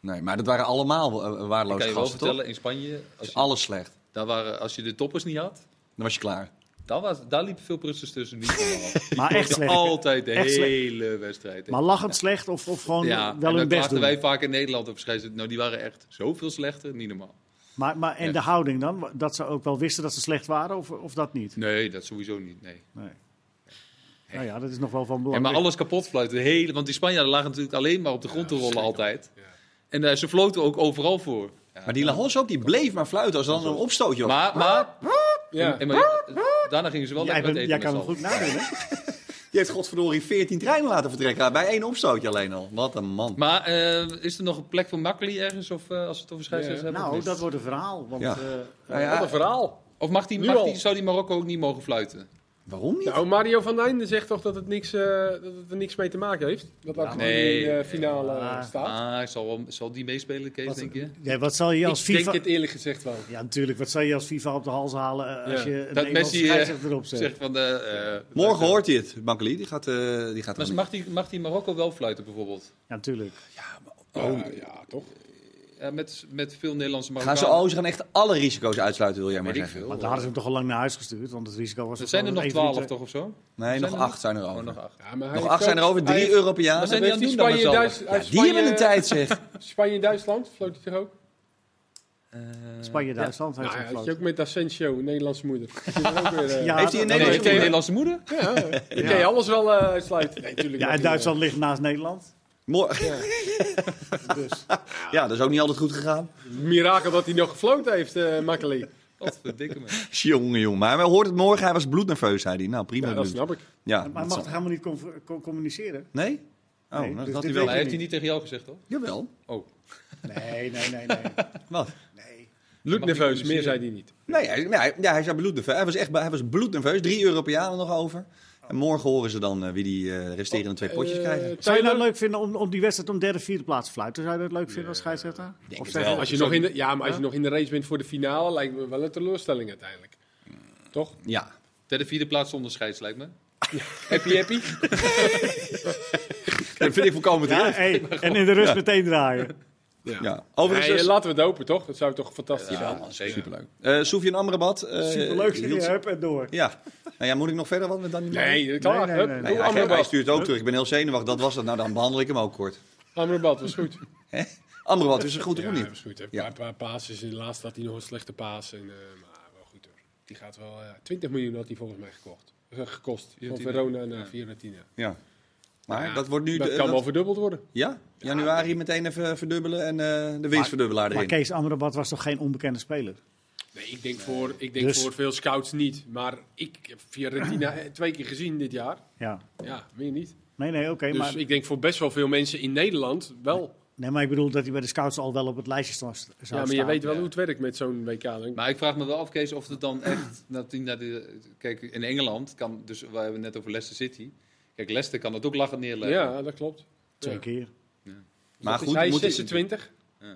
Speaker 1: Nee, maar dat waren allemaal eh,
Speaker 2: Oh,
Speaker 3: kan
Speaker 1: waardeloze
Speaker 3: je wel
Speaker 1: gasten, toch?
Speaker 3: vertellen, in Spanje, als
Speaker 1: Is
Speaker 3: je,
Speaker 1: alles slecht.
Speaker 3: daar waren, als je de toppers niet had,
Speaker 1: Dan was je klaar.
Speaker 3: dan was, daar liepen veel prusters tussen niet normaal. Die
Speaker 2: Maar echt
Speaker 3: pakten
Speaker 2: slecht.
Speaker 3: Altijd de
Speaker 2: Echt slecht.
Speaker 3: hele wedstrijd. hè.
Speaker 2: Maar lachend slecht of, of gewoon
Speaker 3: ja, en
Speaker 2: wel
Speaker 3: dan
Speaker 2: hun best
Speaker 3: klaagden
Speaker 2: doen.
Speaker 3: wij vaak in Nederland op scheidsrechters. Nou, die waren echt zoveel slechter, niet normaal.
Speaker 2: Maar, maar, en
Speaker 3: Ja.
Speaker 2: de houding dan? Dat ze ook wel wisten dat ze slecht waren of, of dat niet?
Speaker 3: Nee, dat sowieso niet, nee.
Speaker 2: Nee. Nou ja, dat is nog wel van
Speaker 3: En
Speaker 2: belang.
Speaker 3: maar alles kapot fluiten. De hele, want die Spanjaarden lagen natuurlijk alleen maar op de grond te rollen altijd. En eh, ze floten ook overal voor. Ja.
Speaker 1: Maar die Lahos ook, die bleef maar fluiten als er dan een opstootje was.
Speaker 3: Maar, maar,
Speaker 4: ja.
Speaker 3: en maar daarna gingen ze wel
Speaker 2: jij,
Speaker 3: lekker
Speaker 2: bent-
Speaker 3: uit eten
Speaker 2: jij
Speaker 3: met
Speaker 2: kan
Speaker 3: z'n
Speaker 2: hem goed
Speaker 3: allen.
Speaker 2: nadoen, hè?
Speaker 1: Die heeft godverdorie 14 treinen laten vertrekken. Bij één opstootje alleen al. Wat een man.
Speaker 3: Maar eh, is er nog een plek voor Makkeli ergens? Of eh, als we het over scheidsrechters hebben?
Speaker 4: Ja.
Speaker 2: Nou,
Speaker 3: of niet?
Speaker 2: dat wordt een verhaal. Want,
Speaker 1: Ja.
Speaker 2: eh,
Speaker 1: Nou ja,
Speaker 4: Wat een verhaal.
Speaker 3: Of mag die,
Speaker 4: Nu
Speaker 3: mag
Speaker 4: al.
Speaker 3: die, zou die Marokko ook niet mogen fluiten?
Speaker 1: waarom niet?
Speaker 4: Nou, Mario van Einde zegt toch dat het, niks, eh, dat het er niks mee te maken heeft? Dat dat
Speaker 3: nee.
Speaker 4: in de finale eh,
Speaker 2: Ah.
Speaker 4: staat.
Speaker 3: Ah, zal, wel- zal die meespelen, Kees, denk je?
Speaker 2: ja, wat zal je als
Speaker 4: ik
Speaker 2: FIFA...
Speaker 4: denk het eerlijk gezegd wel.
Speaker 2: Ja, natuurlijk. Wat zal je als FIFA op de hals halen eh, als
Speaker 4: Ja.
Speaker 2: je een
Speaker 3: Dat
Speaker 2: Nederlandse
Speaker 3: Messi, eh,
Speaker 2: scheidsrechter erop zet?
Speaker 3: Zeg van de... eh,
Speaker 1: Morgen hoort hij het, Bankeli. Die gaat, eh die gaat
Speaker 3: maar
Speaker 1: er
Speaker 3: mag die, mag die Marokko wel fluiten, bijvoorbeeld?
Speaker 2: Ja, natuurlijk.
Speaker 4: Oh, ja, toch?
Speaker 3: ja, met, met veel Nederlandse
Speaker 1: Gaan
Speaker 3: Marokkanen.
Speaker 1: ze, oh, ze gaan echt alle risico's uitsluiten, wil jij maar
Speaker 3: Weet ik
Speaker 1: zeggen.
Speaker 3: veel.
Speaker 2: Want dan hadden ze hem toch al lang naar huis gestuurd, want het risico was...
Speaker 3: Er zijn er nog
Speaker 2: één
Speaker 3: twaalf
Speaker 2: minuut,
Speaker 3: toch of zo?
Speaker 1: Nee,
Speaker 3: Zijn
Speaker 1: nog
Speaker 3: er
Speaker 1: acht zijn er
Speaker 3: Oh, nog
Speaker 1: over.
Speaker 3: acht.
Speaker 4: Ja, maar
Speaker 1: Nog
Speaker 4: hij heeft
Speaker 1: acht zijn er
Speaker 4: ook-
Speaker 1: over, drie
Speaker 4: hij-
Speaker 1: euro per
Speaker 3: Maar
Speaker 1: jaar.
Speaker 3: zijn
Speaker 4: Wat
Speaker 3: die aan het doen
Speaker 4: heeft
Speaker 3: dan
Speaker 4: Spanje,
Speaker 3: met z'n
Speaker 4: Duits-
Speaker 3: allen?
Speaker 1: Ja,
Speaker 4: uit
Speaker 1: die hebben een
Speaker 4: Spanje-
Speaker 1: tijd, zeg.
Speaker 4: Spanje en Duitsland floot hij toch ook?
Speaker 2: hè? Spanje, Duitsland heeft
Speaker 4: Nou,
Speaker 2: hem
Speaker 4: ja, dat
Speaker 2: gefloten.
Speaker 4: is ook met Asensio, een Nederlandse moeder. Dat is ook weer, eh,
Speaker 2: Ja,
Speaker 1: Heeft hij in
Speaker 2: dat-
Speaker 3: Oh, Nee,
Speaker 1: Nederland-
Speaker 3: heeft hij een Nederlandse moeder?
Speaker 4: Ja, je kan je alles wel eh, uitsluiten. Nee, tuurlijk
Speaker 2: Ja,
Speaker 4: niet.
Speaker 2: en Duitsland ligt naast Nederland.
Speaker 1: Morgen. Ja. dat is ook niet altijd goed gegaan.
Speaker 4: Mirakel dat hij nog gefloten heeft, eh Makkeli.
Speaker 3: Wat verdikke me.
Speaker 1: Jongen, jongen. Maar hij hoort het morgen, hij was bloednerveus, zei hij. Nou, prima.
Speaker 4: Ja, dat
Speaker 1: bloed.
Speaker 4: snap ik.
Speaker 1: Ja,
Speaker 2: Maar hij
Speaker 1: dat
Speaker 2: mag
Speaker 1: zal-
Speaker 2: toch helemaal niet conf- co- communiceren?
Speaker 1: Nee? Oh,
Speaker 2: Nee,
Speaker 1: nou, dat
Speaker 2: dus
Speaker 1: had hij
Speaker 2: dit
Speaker 1: wel.
Speaker 2: weet
Speaker 3: Maar
Speaker 2: ik
Speaker 3: heeft hij niet tegen jou gezegd, toch?
Speaker 1: Jawel.
Speaker 3: Oh.
Speaker 2: Nee, nee, nee, nee.
Speaker 1: Wat?
Speaker 2: nee.
Speaker 4: Luc
Speaker 3: Mag niet
Speaker 4: nerveus, meer
Speaker 3: communiceren.
Speaker 4: zei hij niet.
Speaker 1: Nee, hij, nee, hij- ja, hij, zei bloednerveus. hij was echt hij was bloednerveus. Drie euro per jaar nog over. En morgen horen ze dan eh, wie die eh, resterende twee potjes
Speaker 4: Eh,
Speaker 1: krijgen.
Speaker 2: Zou je nou
Speaker 4: Taylor?
Speaker 2: leuk vinden om, om die wedstrijd om derde, vierde plaats te fluiten? Zou je dat leuk vinden als scheidsrechter?
Speaker 1: denk
Speaker 2: Of
Speaker 1: het
Speaker 2: zeg
Speaker 1: wel.
Speaker 2: je-
Speaker 4: Als je nog in de, ja, maar als je nog in de race bent voor de finale, lijkt me wel een teleurstelling uiteindelijk. Toch?
Speaker 1: Ja.
Speaker 3: Derde, vierde plaats zonder scheids, lijkt me.
Speaker 4: Happy, happy.
Speaker 1: Dat vind ik volkomen
Speaker 2: Ja,
Speaker 1: terecht. Ja,
Speaker 2: hey, en in de rust meteen draaien.
Speaker 1: Overigens,
Speaker 4: Nee,
Speaker 1: is-
Speaker 4: laten we het open, toch? Dat zou toch fantastisch zijn.
Speaker 3: Ja, zeker.
Speaker 1: superleuk. Eh Sofian Amrabat. eh,
Speaker 2: Superleuk, zie
Speaker 1: hield
Speaker 2: je,
Speaker 1: zich-
Speaker 2: hup en door.
Speaker 1: Ja. Nou ja, moet ik nog verder wat met Danny Malen?
Speaker 4: Nee, klaar.
Speaker 2: nee,
Speaker 4: Hup,
Speaker 2: nee,
Speaker 1: Nee,
Speaker 2: nee.
Speaker 4: doe
Speaker 1: hij, geeft- hij
Speaker 4: Amrabat.
Speaker 1: stuurt ook terug. Ik ben heel zenuwachtig. Dat was het. Nou, dan behandel ik hem ook kort.
Speaker 4: Amrabat was goed.
Speaker 1: Amrabat is een goed of
Speaker 4: Ja, dat
Speaker 1: niet?
Speaker 4: was goed. Een
Speaker 1: Ja.
Speaker 4: paar, paar passes. In de laatste had hij nog een slechte paas. En, eh, maar wel goed hoor. Die gaat wel... eh 20 miljoen had hij volgens mij gekocht. Eh, gekost. Van
Speaker 3: Fiorentina.
Speaker 4: Verona naar Fiorentina.
Speaker 1: Ja. Maar
Speaker 4: Ja,
Speaker 1: dat wordt nu...
Speaker 4: Dat
Speaker 1: de-
Speaker 4: kan
Speaker 1: dat-
Speaker 4: wel verdubbeld worden.
Speaker 1: ja? Januari meteen even verdubbelen en eh, de winstverdubbelaar
Speaker 2: Maar
Speaker 1: erin.
Speaker 2: Kees Amrabat was toch geen onbekende speler?
Speaker 4: Nee, ik denk, Voor, ik denk
Speaker 2: Dus-
Speaker 4: voor veel scouts niet. Maar ik heb Fiorentina eh, twee keer gezien dit jaar.
Speaker 2: Ja.
Speaker 4: Ja, meer niet.
Speaker 2: Nee, nee, oké.
Speaker 4: Dus
Speaker 2: maar,
Speaker 4: ik denk voor best wel veel mensen in Nederland wel.
Speaker 2: nee, maar ik bedoel dat hij bij de scouts al wel op het lijstje sta- zou
Speaker 4: Ja,
Speaker 2: staan.
Speaker 4: maar je weet wel
Speaker 3: ja.
Speaker 4: hoe het werkt met zo'n WK. Maar,
Speaker 3: Maar ik vraag me wel af, Kees, of het dan echt... dat die naar de, kijk, in Engeland kan... Dus we hebben het net over Leicester City. Kijk, Leicester kan het ook lachen neerleggen.
Speaker 4: ja, dat klopt.
Speaker 2: Twee keer.
Speaker 1: Maar
Speaker 4: Dus
Speaker 1: goed,
Speaker 4: hij is
Speaker 1: moet-
Speaker 4: 26.
Speaker 3: Ja.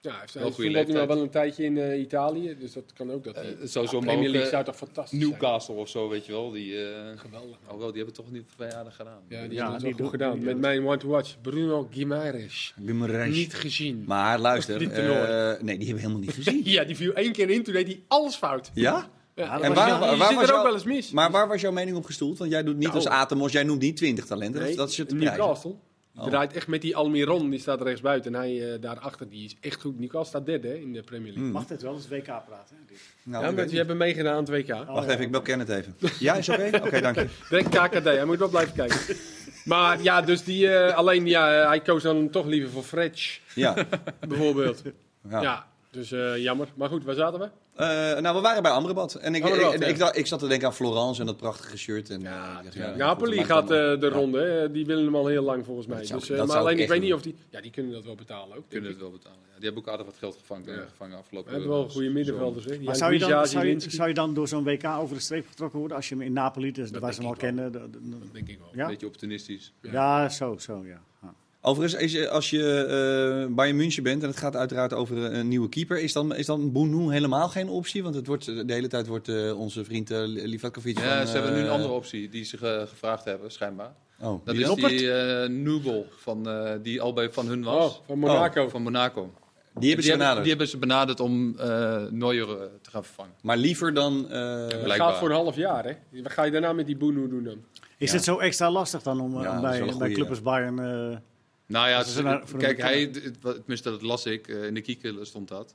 Speaker 4: Ja, hij heeft-
Speaker 3: Wel goede
Speaker 4: hij voetbalt nu al
Speaker 3: leeftijd.
Speaker 4: wel een tijdje in eh, Italië. Dus dat kan ook. Dat hij-
Speaker 3: Eh, het zou
Speaker 4: Ja,
Speaker 3: zomaar
Speaker 4: Premier
Speaker 3: ook,
Speaker 4: League
Speaker 3: eh,
Speaker 4: zou toch fantastisch zijn.
Speaker 3: Newcastle of zo, weet je wel. Die, eh,
Speaker 4: Geweldig.
Speaker 3: oh wel, die hebben toch niet twee aardig gedaan.
Speaker 4: Ja, die
Speaker 2: Ja,
Speaker 4: hebben het
Speaker 2: die
Speaker 4: wel
Speaker 2: doen-
Speaker 4: goed gedaan.
Speaker 2: die
Speaker 4: Met
Speaker 2: doen-
Speaker 4: mijn one to watch, Bruno Guimaraes.
Speaker 1: Guimaraes.
Speaker 4: Niet gezien.
Speaker 1: Maar luister,
Speaker 4: Die tenor.
Speaker 1: eh, nee, die hebben we helemaal niet gezien.
Speaker 4: Ja, die viel één keer in, toen deed hij alles fout.
Speaker 1: Ja?
Speaker 4: Ja,
Speaker 1: En
Speaker 4: en
Speaker 1: waar-
Speaker 4: waar,
Speaker 1: waar
Speaker 4: zit
Speaker 1: was
Speaker 4: er
Speaker 1: jou-
Speaker 4: ook wel eens mis.
Speaker 1: Maar waar was jouw mening op gestoeld? Want jij doet niet
Speaker 4: Nou.
Speaker 1: als Atemos, jij noemt niet 20 talenten. Dat-
Speaker 4: Nee,
Speaker 1: dat is het prijs.
Speaker 4: Newcastle. Die
Speaker 1: Oh.
Speaker 4: draait echt met die Almiron, die staat rechtsbuiten. En hij eh, daarachter, die is echt goed. Newcastle staat derde hè, in de Premier League.
Speaker 2: Mag dit wel eens WK praten? Oh, hè, dit?
Speaker 1: Nou, ik Mm.
Speaker 4: ja,
Speaker 1: weet
Speaker 4: omdat die
Speaker 1: niet.
Speaker 4: hebben meegedaan aan het WK.
Speaker 1: Wacht even, ik bel Kenneth even. Ja, is oké? Oké, dank je.
Speaker 4: Denk KKD, hij moet wel blijven kijken. Maar ja, dus die, eh, alleen ja, eh, hij koos dan toch liever voor Fretch,
Speaker 1: Ja.
Speaker 4: bijvoorbeeld.
Speaker 1: Ja.
Speaker 4: ja. dus eh, jammer. Maar goed, waar zaten we?
Speaker 1: Eh, nou, we waren bij Amrabat. En ik,
Speaker 4: Amrabat,
Speaker 1: ik,
Speaker 4: ja.
Speaker 1: ik, dacht- ik zat te denken aan Florence en dat prachtige shirt. En, eh, ik dacht, ja,
Speaker 4: Napoli
Speaker 1: goed,
Speaker 4: gaat
Speaker 1: maar dan-
Speaker 4: eh, de
Speaker 1: ja.
Speaker 4: ronde, hè. die willen hem al heel lang volgens mij.
Speaker 1: Dat zou-
Speaker 4: dus, eh,
Speaker 1: dat
Speaker 4: maar
Speaker 1: zou
Speaker 4: alleen
Speaker 1: ik
Speaker 4: ik weet
Speaker 1: echt
Speaker 4: niet of die... Ja, die kunnen dat wel betalen ook.
Speaker 3: kunnen
Speaker 4: denk
Speaker 3: het wel betalen. Ja, die hebben ook aardig wat geld gevangen, eh, gevangen
Speaker 4: ik. We
Speaker 3: afgelopen
Speaker 4: hebben wel
Speaker 3: eh,
Speaker 4: goede middenvelders. Hè. Die
Speaker 2: Maar zou je,
Speaker 4: Andrija
Speaker 2: dan, zou, je,
Speaker 4: Zielinski.
Speaker 2: zou je dan door zo'n WK over de streep getrokken worden als je hem in Napoli, dus
Speaker 4: Dat
Speaker 2: waar ze hem al
Speaker 4: denk ik
Speaker 2: kennen? de- de- de-
Speaker 4: Denk ik wel.
Speaker 3: Een
Speaker 2: ja?
Speaker 3: beetje opportunistisch.
Speaker 2: ja? zo, zo, ja. Ah. Ja.
Speaker 1: Overigens, als je, als je eh Bayern München bent, en het gaat uiteraard over eh, een, een nieuwe keeper, is dan, is dan Boenu helemaal geen optie? Want het wordt, de hele tijd wordt eh, onze vriend uh, Livakkovic van...
Speaker 3: Ja, ze hebben nu een
Speaker 1: eh,
Speaker 3: andere optie die ze ge- gevraagd hebben, schijnbaar.
Speaker 1: Oh,
Speaker 3: Dat
Speaker 1: wie
Speaker 3: is
Speaker 1: dan?
Speaker 3: die eh Nubel, van, eh, die al bij Van Hun was.
Speaker 4: Oh, van Monaco.
Speaker 3: Van Monaco.
Speaker 1: die hebben ze benaderd.
Speaker 3: die hebben ze benaderd om eh Neuer eh, te gaan vervangen.
Speaker 1: Maar liever dan... eh,
Speaker 4: Maar het
Speaker 3: Blijkbaar.
Speaker 4: gaat voor een half jaar, hè? Wat ga je daarna met die Boenu doen dan?
Speaker 2: Is het zo extra lastig dan om, eh,
Speaker 1: Ja,
Speaker 2: om
Speaker 1: dat is
Speaker 2: bij,
Speaker 1: wel een
Speaker 2: bij
Speaker 1: goeie,
Speaker 2: club
Speaker 1: ja.
Speaker 2: als Bayern... eh,
Speaker 3: Nou ja,
Speaker 2: Dat is
Speaker 3: ze-
Speaker 2: een- voor een
Speaker 3: kijk, hij,
Speaker 2: bekende.
Speaker 3: het- wat- tenminste dat las ik, eh, in de kieker stond dat.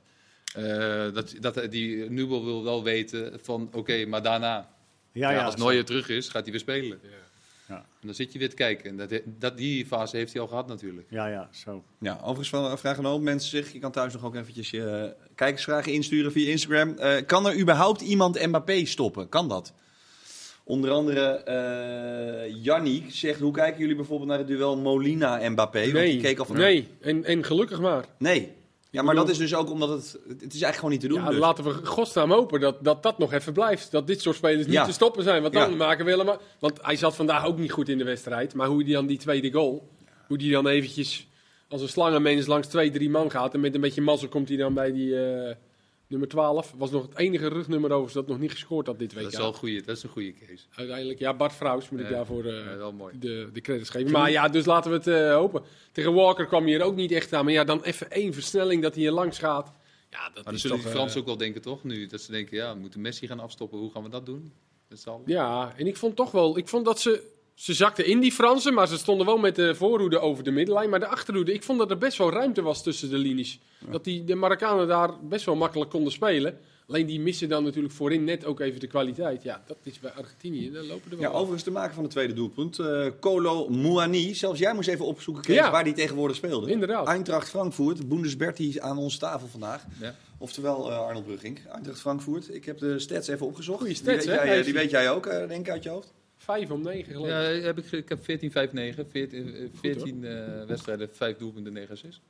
Speaker 3: Eh, dat, dat die Nubel wil wel weten van, oké, maar daarna,
Speaker 2: ja,
Speaker 3: Ja,
Speaker 2: ja,
Speaker 3: als
Speaker 2: zo.
Speaker 3: Neuer terug is, gaat hij weer spelen.
Speaker 2: Ja.
Speaker 3: En dan zit je weer te kijken. En dat, dat, die fase heeft hij al gehad natuurlijk.
Speaker 2: Ja, ja, zo.
Speaker 1: Ja, overigens van- vragen een hoop mensen zich. Je kan thuis nog ook eventjes je eh, kijkersvragen insturen via Instagram. Eh, kan er überhaupt iemand Mbappé stoppen? Kan dat? Onder andere eh Yannick zegt, hoe kijken jullie bijvoorbeeld naar het duel Molina-Mbappé? Want die keek al van... eh,
Speaker 4: nee. En, en gelukkig maar.
Speaker 1: Nee. Ja, maar dat is dus ook omdat het... Het is eigenlijk gewoon niet te doen.
Speaker 4: Ja,
Speaker 1: dus.
Speaker 4: Laten we godsnaam hopen dat, dat dat nog even blijft. Dat dit soort spelers niet
Speaker 1: Ja.
Speaker 4: te stoppen zijn. Want dan
Speaker 1: Ja.
Speaker 4: maken we helemaal... Want hij zat vandaag ook niet goed in de wedstrijd. Maar hoe die dan die tweede goal... Hoe die dan eventjes als een slangenmens langs twee, drie man gaat... En met een beetje mazzel komt hij dan bij die, eh, nummer 12, was nog het enige rugnummer overigens dat nog niet gescoord had dit
Speaker 3: Dat
Speaker 4: week.
Speaker 3: is wel een goeie, dat is een goede case.
Speaker 4: Uiteindelijk, ja, Bart Vrouws moet ik
Speaker 3: Ja.
Speaker 4: daarvoor eh,
Speaker 3: Ja, wel mooi.
Speaker 4: de, de credits geven. Maar ja, dus laten we het eh, hopen. Tegen Walker kwam hij er ook niet echt aan. Maar ja, dan even één versnelling dat hij er langs gaat. Ja, dat
Speaker 3: Maar dan
Speaker 4: is
Speaker 3: zullen
Speaker 4: toch...
Speaker 3: die
Speaker 4: eh,
Speaker 3: Fransen ook wel denken, toch? Nu dat ze denken, ja, we moeten Messi gaan afstoppen. Hoe gaan we dat doen? Dat zal...
Speaker 4: Ja, en ik vond toch wel... Ik vond dat ze... Ze zakten in die Fransen, maar ze stonden wel met de voorhoede over de middenlijn. Maar de achterhoede, ik vond dat er best wel ruimte was tussen de linies. Dat die, de Marokkanen daar best wel makkelijk konden spelen. Alleen die missen dan natuurlijk voorin net ook even de kwaliteit. Ja, dat is bij Argentinië. Daar lopen er wel
Speaker 1: Ja, overigens de maker van het tweede doelpunt. eh Colo Mouani. Zelfs jij moest even opzoeken Kees,
Speaker 4: Ja.
Speaker 1: waar die tegenwoordig speelde.
Speaker 4: Inderdaad.
Speaker 1: Eintracht Frankfurt. Bundesberti aan onze tafel vandaag.
Speaker 3: Ja.
Speaker 1: Oftewel eh, Arnold Brugink. Eintracht Frankfurt. Ik heb de stats even opgezocht.
Speaker 4: Goeie
Speaker 1: die
Speaker 4: stats,
Speaker 1: weet,
Speaker 4: hè?
Speaker 1: jij, eh,
Speaker 4: Hij is-
Speaker 1: die weet jij ook, eh, denk ik, uit je hoofd.
Speaker 4: Vijf om negen geloof ik.
Speaker 3: Ja, heb ik, ge- ik heb 14, 5, 9. 14, eh,
Speaker 4: hoor.
Speaker 3: 14 eh, wedstrijden, 5 doelpunten, 9 assists.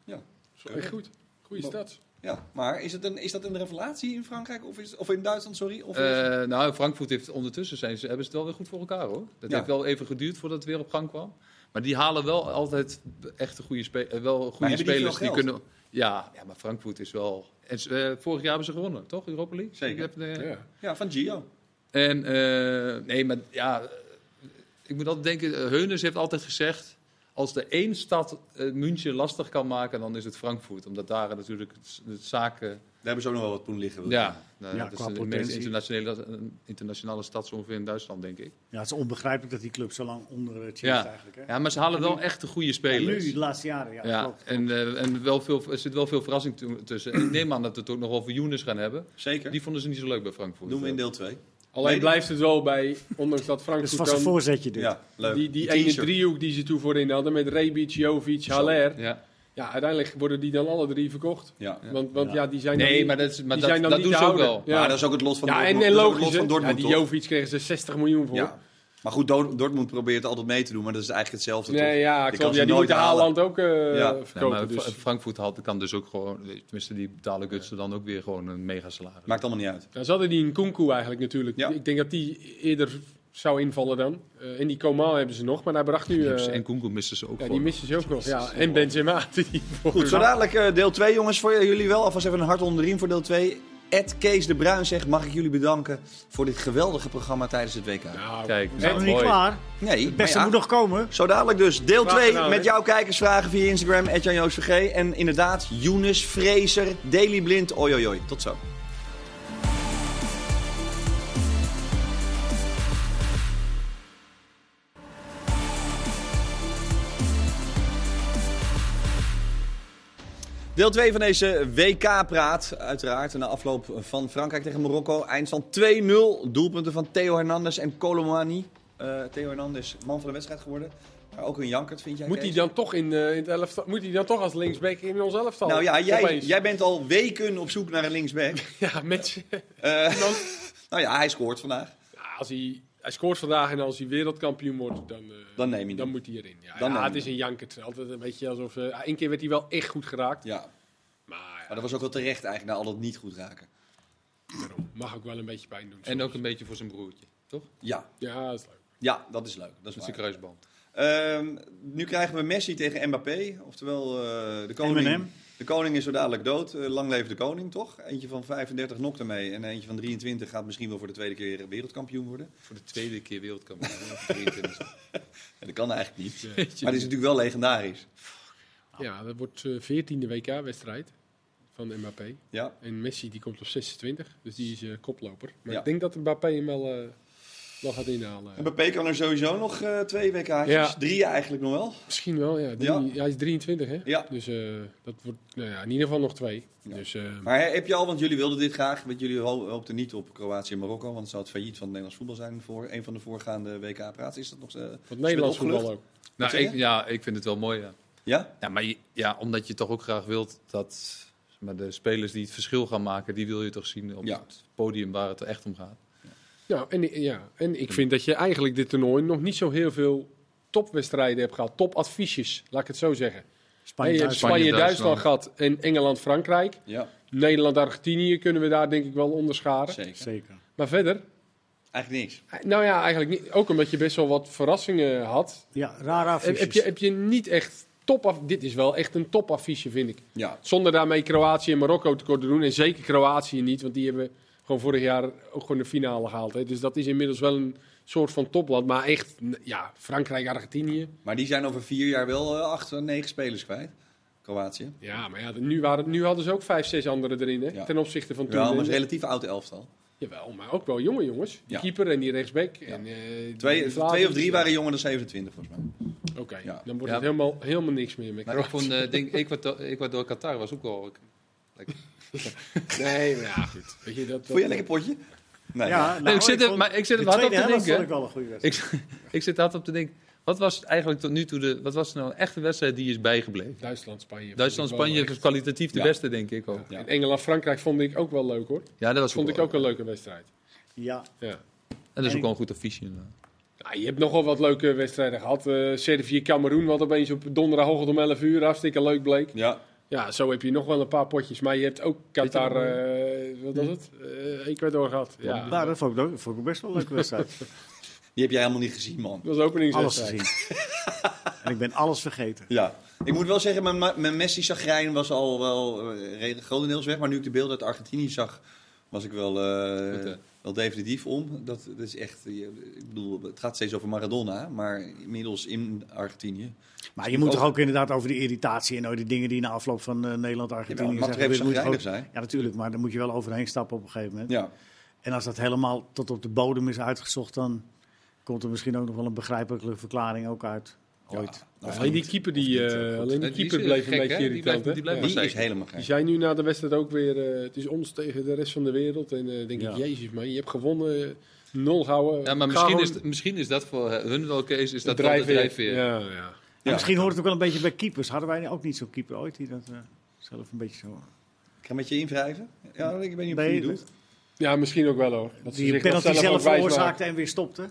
Speaker 4: Zo, echt goed. Goeie
Speaker 1: Bo-
Speaker 4: stad.
Speaker 1: Ja, maar is, het een, is dat een revelatie in Frankrijk? Of, is, of in Duitsland, sorry? Of is-
Speaker 3: Eh, nou, Frankfurt heeft ondertussen zijn ze, hebben ze het wel weer goed voor elkaar hoor. Dat
Speaker 1: Ja.
Speaker 3: heeft wel even geduurd voordat het weer op gang kwam. Maar die halen wel altijd echt goede, spe- eh, wel goede
Speaker 1: hebben die
Speaker 3: spelers.
Speaker 1: veel geld?
Speaker 3: kunnen. Ja, ja, maar Frankfurt is wel. En, ze- eh, vorig jaar hebben ze gewonnen, toch? Europa League?
Speaker 1: Zeker.
Speaker 3: Ik heb, eh,
Speaker 4: Ja.
Speaker 1: ja, van Gio.
Speaker 3: En eh, nee, maar ja, eh, ik moet altijd denken, eh, Heuners heeft altijd gezegd, als de één stad eh, München lastig kan maken, dan is het Frankfurt. Omdat daar natuurlijk het s- de zaken,
Speaker 1: Daar hebben ze ook nog wel wat poen liggen. wil ik
Speaker 3: ja,
Speaker 1: zeggen.
Speaker 3: nou,
Speaker 2: Ja,
Speaker 3: dat is
Speaker 2: qua
Speaker 3: de meest
Speaker 2: potentie.
Speaker 3: internationale, eh, internationale stad zo ongeveer in Duitsland, denk ik.
Speaker 2: Ja, het is onbegrijpelijk dat die club zo lang onder het
Speaker 3: Ja.
Speaker 2: ja. eigenlijk. Hè?
Speaker 3: Ja, maar ze halen wel echt de goede
Speaker 2: En nu,
Speaker 3: spelers.
Speaker 2: de laatste jaren, ja.
Speaker 3: Ja,
Speaker 2: klopt.
Speaker 3: en, eh, en wel veel, er zit wel veel verrassing toe- tussen. Ik neem aan dat we het ook nog over Younes gaan hebben.
Speaker 1: Zeker.
Speaker 3: Die vonden ze niet zo leuk bij Frankfurt.
Speaker 1: Doen we in deel 2.
Speaker 4: Alleen
Speaker 1: Nee,
Speaker 4: blijft het wel bij, ondanks dat
Speaker 2: Dus
Speaker 4: Frankfurt
Speaker 2: vast een
Speaker 4: dan
Speaker 2: voorzetje dit.
Speaker 1: Ja, leuk.
Speaker 4: die, die
Speaker 1: t-shirt.
Speaker 4: ene driehoek die ze toen voorin hadden met Rebic, Jovic, Haller.
Speaker 3: Ja.
Speaker 4: Ja, uiteindelijk worden die dan alle drie verkocht.
Speaker 1: Ja.
Speaker 3: Ja.
Speaker 4: Want, want ja. die zijn dan
Speaker 3: Nee,
Speaker 4: niet-
Speaker 3: maar dat, is- maar
Speaker 4: die
Speaker 3: dat,
Speaker 4: zijn dan
Speaker 3: dat
Speaker 4: niet
Speaker 3: doen
Speaker 4: te
Speaker 3: ze ook
Speaker 4: houden.
Speaker 3: wel.
Speaker 4: Ja.
Speaker 1: Maar dat is ook het lot van
Speaker 4: Ja, en,
Speaker 1: Dortmund.
Speaker 4: en
Speaker 1: Dat is ook het
Speaker 4: logisch,
Speaker 1: lot van
Speaker 4: hè. ja,
Speaker 1: Dortmund,
Speaker 4: die
Speaker 1: toch?
Speaker 4: Jovic kregen ze 60 miljoen voor.
Speaker 1: Ja. Maar goed, Dor- Dortmund probeert altijd mee te doen, maar dat is eigenlijk hetzelfde. toch?
Speaker 4: Nee, ja,
Speaker 1: Die kan
Speaker 4: klopt.
Speaker 1: ze
Speaker 4: Ja, die
Speaker 1: nooit
Speaker 4: moeten
Speaker 1: halen.
Speaker 4: Haaland ook eh,
Speaker 1: Ja.
Speaker 3: Ja,
Speaker 4: verkopen.
Speaker 3: maar
Speaker 4: dus.
Speaker 3: Fra- Frankfurt had, kan dus ook gewoon, tenminste die betalen Gutsen dan ook weer gewoon een mega salaris.
Speaker 1: Maakt allemaal niet uit.
Speaker 4: Nou, ze hadden die Nkunku eigenlijk natuurlijk.
Speaker 1: Ja.
Speaker 4: Ik denk dat die eerder zou invallen dan. Eh, en die Coman hebben ze nog, maar hij bracht nu... eh,
Speaker 3: en Kunkel missen ze ook
Speaker 4: ja, die
Speaker 3: voor.
Speaker 4: missen ze ook nog. Ja. En Benzema. Die voor-
Speaker 1: Goed, zo dadelijk eh, deel 2, jongens. Voor jullie wel alvast even een hart onder de riem voor deel 2. Ed Kees de Bruin zegt, mag ik jullie bedanken voor dit geweldige programma tijdens het WK?
Speaker 4: Nou,
Speaker 3: Kijk,
Speaker 2: We zijn nog niet
Speaker 3: mooi.
Speaker 2: klaar.
Speaker 1: Nee,
Speaker 2: Het beste
Speaker 1: maar ja.
Speaker 2: moet nog komen.
Speaker 1: Zo dadelijk dus. Deel
Speaker 4: Vragen
Speaker 1: 2
Speaker 4: nou,
Speaker 1: met
Speaker 4: hè?
Speaker 1: jouw kijkersvragen via Instagram, Jan VG. En inderdaad, Younes, Fraser, Daily Blind, oi oi oi. Tot zo. Deel 2 van deze WK-praat. Uiteraard na afloop van Frankrijk tegen Marokko. Eindstand 2-0. Doelpunten van Theo Hernandez en Colomani. Eh, Theo Hernandez, man van de wedstrijd geworden. Maar ook een jankert, vind jij?
Speaker 4: Moet
Speaker 1: Kees?
Speaker 4: hij dan toch in, eh, in het elftal, moet hij dan toch als linksback in ons elftal?
Speaker 1: Nou ja, jij,
Speaker 4: Opeens.
Speaker 1: jij bent al weken op zoek naar een linksback.
Speaker 4: ja, mensen.
Speaker 1: Eh,
Speaker 4: Dan,
Speaker 1: nou ja, hij scoort vandaag.
Speaker 4: Ja, als hij, hij scoort vandaag en als hij wereldkampioen wordt, dan, eh,
Speaker 1: Dan neem je
Speaker 4: dan
Speaker 1: hem.
Speaker 4: moet hij erin. Ja,
Speaker 1: Dan
Speaker 4: ja,
Speaker 1: neem
Speaker 4: het
Speaker 1: je
Speaker 4: is een jankert. Altijd een beetje alsof... eh, ja, Eén keer werd hij wel echt goed geraakt.
Speaker 1: Ja, maar
Speaker 4: Maar eh, ja,
Speaker 1: dat was ook wel terecht eigenlijk, na al dat niet goed raken.
Speaker 4: daarom. mag ook wel een beetje pijn doen.
Speaker 3: En ook een beetje voor zijn broertje, toch?
Speaker 1: Ja,
Speaker 4: Ja, dat is leuk.
Speaker 1: ja dat is leuk. Dat
Speaker 3: Met
Speaker 1: is
Speaker 3: zijn
Speaker 1: waar.
Speaker 3: kruisband.
Speaker 1: Ehm, nu krijgen we Messi tegen Mbappé. Oftewel, eh, de, koning,
Speaker 2: M&M.
Speaker 1: de koning is zo dadelijk dood. Eh, lang leven de koning, toch? Eentje van 35 nokt ermee en eentje van 23 gaat misschien wel voor de tweede keer wereldkampioen worden.
Speaker 3: Voor de tweede keer wereldkampioen. Ja, voor 23.
Speaker 1: Ja, dat kan eigenlijk niet.
Speaker 4: Ja.
Speaker 1: Maar die is natuurlijk wel legendarisch.
Speaker 4: Ja, dat wordt eh 14e WK-wedstrijd van Mbappé.
Speaker 1: Ja.
Speaker 4: En Messi die komt op 26, dus die is eh, koploper. Maar
Speaker 1: Ja.
Speaker 4: ik denk dat Mbappé hem wel, eh, wel gaat inhalen.
Speaker 1: Mbappé kan er sowieso nog eh, twee WK's.
Speaker 4: Ja.
Speaker 1: Drie eigenlijk nog wel.
Speaker 4: Misschien wel, ja. Drie-
Speaker 1: Ja.
Speaker 4: Hij is 23, hè?
Speaker 1: Ja.
Speaker 4: Dus eh, dat wordt nou ja, in ieder geval nog twee.
Speaker 1: Ja.
Speaker 4: Dus, eh,
Speaker 1: Maar heb je al, want jullie wilden dit graag, want jullie ho- hoopten niet op Kroatië en Marokko, want het zou het failliet van het Nederlands voetbal zijn voor een van de voorgaande WK-praats. Is dat nog eh, is
Speaker 4: wat
Speaker 1: dat
Speaker 4: Nederlands
Speaker 1: opgelucht?
Speaker 4: voetbal ook.
Speaker 3: nou,
Speaker 1: zeg je?
Speaker 3: ik, ja, ik vind het wel mooi, ja.
Speaker 1: Ja?
Speaker 3: Ja, maar je- ja, omdat je toch ook graag wilt dat zeg maar, de spelers die het verschil gaan maken, die wil je toch zien op
Speaker 1: Ja.
Speaker 3: het podium waar het er echt om gaat.
Speaker 4: Nou, en, ja, en ik vind dat je eigenlijk dit toernooi nog niet zo heel veel topwedstrijden hebt gehad. Topadviesjes, laat ik het zo zeggen. Hey, je
Speaker 2: Spanje-Duitsland.
Speaker 4: hebt
Speaker 3: Spanje,
Speaker 4: Spanje-Duitsland gehad en Engeland-Frankrijk.
Speaker 1: Ja,
Speaker 4: Nederland-Argentinië kunnen we daar denk ik wel onderscharen.
Speaker 1: zeker.
Speaker 2: Zeker.
Speaker 4: Maar verder,
Speaker 1: Eigenlijk niks.
Speaker 4: nou ja, eigenlijk niet. Ook omdat je best wel wat verrassingen had.
Speaker 2: Ja, rara
Speaker 4: Heb, heb je, heb je niet echt topaf, dit is wel echt een topaffiche, vind ik.
Speaker 1: Ja.
Speaker 4: Zonder daarmee Kroatië en Marokko tekort te doen. En zeker Kroatië niet, want die hebben gewoon vorig jaar ook gewoon de finale gehaald. Hè. Dus dat is inmiddels wel een soort van topland. Maar echt, n- ja, Frankrijk, Argentinië.
Speaker 1: Maar die zijn over vier jaar wel eh, acht, eh, negen spelers kwijt. Kroatië.
Speaker 4: Ja, maar ja, nu, waren, nu hadden ze ook vijf, zes anderen erin, hè,
Speaker 1: Ja.
Speaker 4: ten opzichte van toen.
Speaker 1: Ja, maar het is
Speaker 4: En-
Speaker 1: een relatief oud elftal.
Speaker 4: Jawel, maar ook wel jonge jongens. Die
Speaker 1: Ja.
Speaker 4: keeper en die rechtsback. En, eh,
Speaker 1: Twee,
Speaker 4: die Vlahovic.
Speaker 1: twee of drie waren jonger dan 27, volgens mij.
Speaker 4: Oké,
Speaker 1: Ja.
Speaker 4: dan wordt
Speaker 3: Ja.
Speaker 4: het helemaal, helemaal niks meer met
Speaker 3: Maar ik vond, eh, denk, Ecuador, Ecuador Qatar was ook wel...
Speaker 4: Kroatië. Nee, maar ja, goed. Weet je, dat,
Speaker 1: Vond je
Speaker 4: dat-
Speaker 1: een lekker potje? Nee.
Speaker 2: Ja, nou,
Speaker 3: Nee, Oh, ik zit er-
Speaker 2: vond
Speaker 3: maar ik zit er
Speaker 2: de
Speaker 3: hard op
Speaker 2: tweede
Speaker 3: te
Speaker 2: helft vond ik
Speaker 3: denken.
Speaker 2: wel een goede wedstrijd.
Speaker 3: ik, ik zit hard op te denken, wat was eigenlijk tot nu toe de... Wat was nou echt de wedstrijd die is bijgebleven?
Speaker 4: Duitsland, Spanje.
Speaker 3: Duitsland,
Speaker 4: vond ik wel
Speaker 3: Spanje was kwalitatief de
Speaker 1: Ja.
Speaker 3: beste, denk ik ook.
Speaker 4: leuk.
Speaker 1: Ja.
Speaker 4: En Engeland, Frankrijk vond ik ook wel leuk hoor.
Speaker 3: Ja, dat was
Speaker 4: Vond
Speaker 3: ook
Speaker 4: ik
Speaker 3: wel-
Speaker 4: ook een leuke wedstrijd.
Speaker 2: Ja,
Speaker 4: Ja.
Speaker 3: En dat is
Speaker 2: En-
Speaker 3: ook wel een goed affiche. inderdaad.
Speaker 4: Ja, je hebt nogal wat leuke wedstrijden gehad. Eh Servië, Cameroen, wat opeens op donderdag om 11 uur hartstikke leuk bleek.
Speaker 1: Ja.
Speaker 4: Ja, zo heb je nog wel een paar potjes. Maar je hebt ook Qatar, eh, wat was
Speaker 3: hm?
Speaker 4: het? Eh Ecuador gehad. Ja.
Speaker 2: Nou, dat vond ik, ook- vond ik best wel een leuke wedstrijd.
Speaker 1: Die heb jij helemaal niet gezien, man.
Speaker 4: Dat was de
Speaker 2: alles
Speaker 4: openingswedstrijd.
Speaker 2: gezien. en ik ben alles vergeten.
Speaker 1: Ja. Ik moet wel zeggen, mijn, ma- mijn Messi-chagrijn was al wel eh, redelijk grotendeels weg. Maar nu ik de beelden uit Argentinië zag, was ik wel, eh,
Speaker 3: Goed, hè?
Speaker 1: wel definitief om. Dat, dat is echt, eh, je- ik bedoel, het gaat steeds over Maradona, maar inmiddels in Argentinië.
Speaker 2: Maar je moet toch ook inderdaad over die irritatie en over die dingen die na afloop van eh, Nederland-Argentinië
Speaker 1: Jawel, het mag toch
Speaker 2: gezegd
Speaker 1: even
Speaker 2: worden, moet je
Speaker 1: chagrijnig
Speaker 2: gewoon- Ja, natuurlijk, maar daar moet je wel overheen stappen op een gegeven moment.
Speaker 1: Ja.
Speaker 2: En als dat helemaal tot op de bodem is uitgezocht, dan komt er misschien ook nog wel een begrijpelijke verklaring ook uit. Ooit.
Speaker 1: Nou,
Speaker 4: alleen die keeper, die, eh, alleen
Speaker 3: Nee,
Speaker 4: die
Speaker 3: die
Speaker 4: keeper
Speaker 3: is, eh,
Speaker 4: bleef een
Speaker 3: gek,
Speaker 4: beetje
Speaker 3: hè? Die
Speaker 4: irritant.
Speaker 3: blijft-
Speaker 4: hè?
Speaker 3: die blijft
Speaker 4: Ja.
Speaker 1: die is helemaal
Speaker 4: Die
Speaker 1: gek.
Speaker 4: zijn nu na de wedstrijd ook weer, eh, het is ons tegen de rest van de wereld. En eh, denk
Speaker 2: Ja.
Speaker 4: ik, jezus man, je hebt gewonnen, eh, nul houden.
Speaker 3: Ja, maar misschien is, misschien is dat voor hun wel, Kees, is dat wel de drijfveer.
Speaker 4: Ja, ja.
Speaker 2: Maar
Speaker 1: Ja.
Speaker 2: Misschien hoort het ook wel een beetje bij keepers. Hadden wij ook niet zo'n keeper ooit die dat eh, zelf een beetje zo...
Speaker 1: Ik ga met je invrijven. Ja, ik weet niet of je
Speaker 2: Nee,
Speaker 1: het doet.
Speaker 4: ja, misschien ook wel hoor. Dat ze
Speaker 2: Die
Speaker 4: zich
Speaker 2: penalty
Speaker 4: dat
Speaker 2: zelf,
Speaker 4: ook wijs
Speaker 2: veroorzaakte en weer stopte.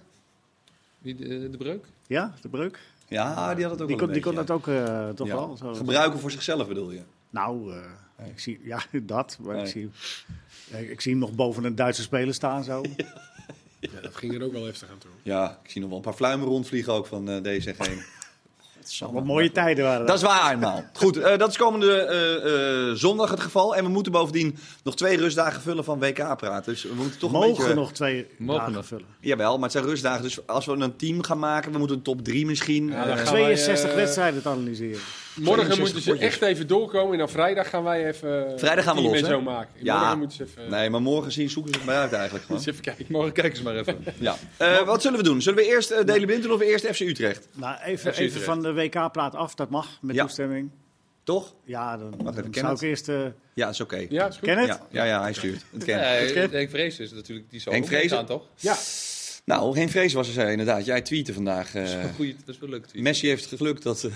Speaker 3: Wie, eh, de, de breuk?
Speaker 2: Ja, de breuk.
Speaker 1: Ja, die had het ook
Speaker 2: Die
Speaker 1: wel
Speaker 2: kon, die
Speaker 1: een
Speaker 2: kon
Speaker 1: beetje,
Speaker 2: dat ook eh, toch
Speaker 1: ja. Ja.
Speaker 2: wel. Zo,
Speaker 1: Gebruiken voor zichzelf bedoel je?
Speaker 2: Nou, eh, ik zie, ja, dat. Maar
Speaker 1: Nee.
Speaker 2: ik, zie, eh, ik zie hem nog boven een Duitse speler staan zo.
Speaker 4: maakt. Ja, dat ging er ook wel heftig aan toe.
Speaker 1: Ja, ik zie nog wel een paar fluimen rondvliegen ook van eh deze heen.
Speaker 2: Wat mooie tijden waren
Speaker 1: Dat is waar, man. Goed, eh, dat is komende eh, eh, zondag het geval. En we moeten bovendien nog twee rustdagen vullen van WK-praten. Dus we moeten toch
Speaker 2: Mogen
Speaker 1: een beetje...
Speaker 2: nog twee
Speaker 3: Mogen
Speaker 2: dagen
Speaker 3: nog.
Speaker 2: vullen.
Speaker 1: Jawel, maar het zijn rustdagen. Dus als we een team gaan maken, we moeten een top 3 misschien.
Speaker 4: Ja, dan
Speaker 1: eh,
Speaker 4: gaan we-
Speaker 2: 62
Speaker 4: eh,
Speaker 2: wedstrijden te analyseren.
Speaker 4: Morgen
Speaker 1: 62
Speaker 4: moeten ze
Speaker 1: potjes.
Speaker 4: echt even doorkomen. En dan vrijdag gaan wij even eh,
Speaker 1: Vrijdag gaan we
Speaker 4: een team
Speaker 1: los, hè?
Speaker 4: en zo maken.
Speaker 1: Ja.
Speaker 4: Morgen moeten ze even,
Speaker 1: Nee, maar morgen zien zoeken ze het maar uit eigenlijk gewoon.
Speaker 4: eens even kijken.
Speaker 3: Morgen Oh, kijk eens maar even.
Speaker 1: Ja. Eh, wat zullen we doen? Zullen we eerst eh Daily Blind doen of eerst FC Utrecht?
Speaker 2: Nou, even,
Speaker 3: FC
Speaker 2: even
Speaker 3: Utrecht.
Speaker 2: van de WK-praat af. Dat mag, met
Speaker 1: Ja.
Speaker 2: toestemming.
Speaker 1: Toch?
Speaker 2: Ja, dan,
Speaker 1: even,
Speaker 2: dan
Speaker 1: ken
Speaker 2: zou
Speaker 1: het?
Speaker 2: ik eerst... eh
Speaker 1: Ja, dat is oké.
Speaker 4: Ja, is goed.
Speaker 2: ken het?
Speaker 1: Ja, ja, ja, hij stuurt. Het ken ik.
Speaker 3: Ja, Henk Vrees is natuurlijk, die zou
Speaker 1: Henk
Speaker 3: ook mee
Speaker 1: Vrees?
Speaker 3: gaan, toch?
Speaker 4: Ja,
Speaker 1: Nou, geen vrees was er zei, inderdaad. Jij tweette vandaag. eh,
Speaker 3: Dat is wel goeie- dat is wel leuk. tweet.
Speaker 1: Messi heeft gelukt dat eh,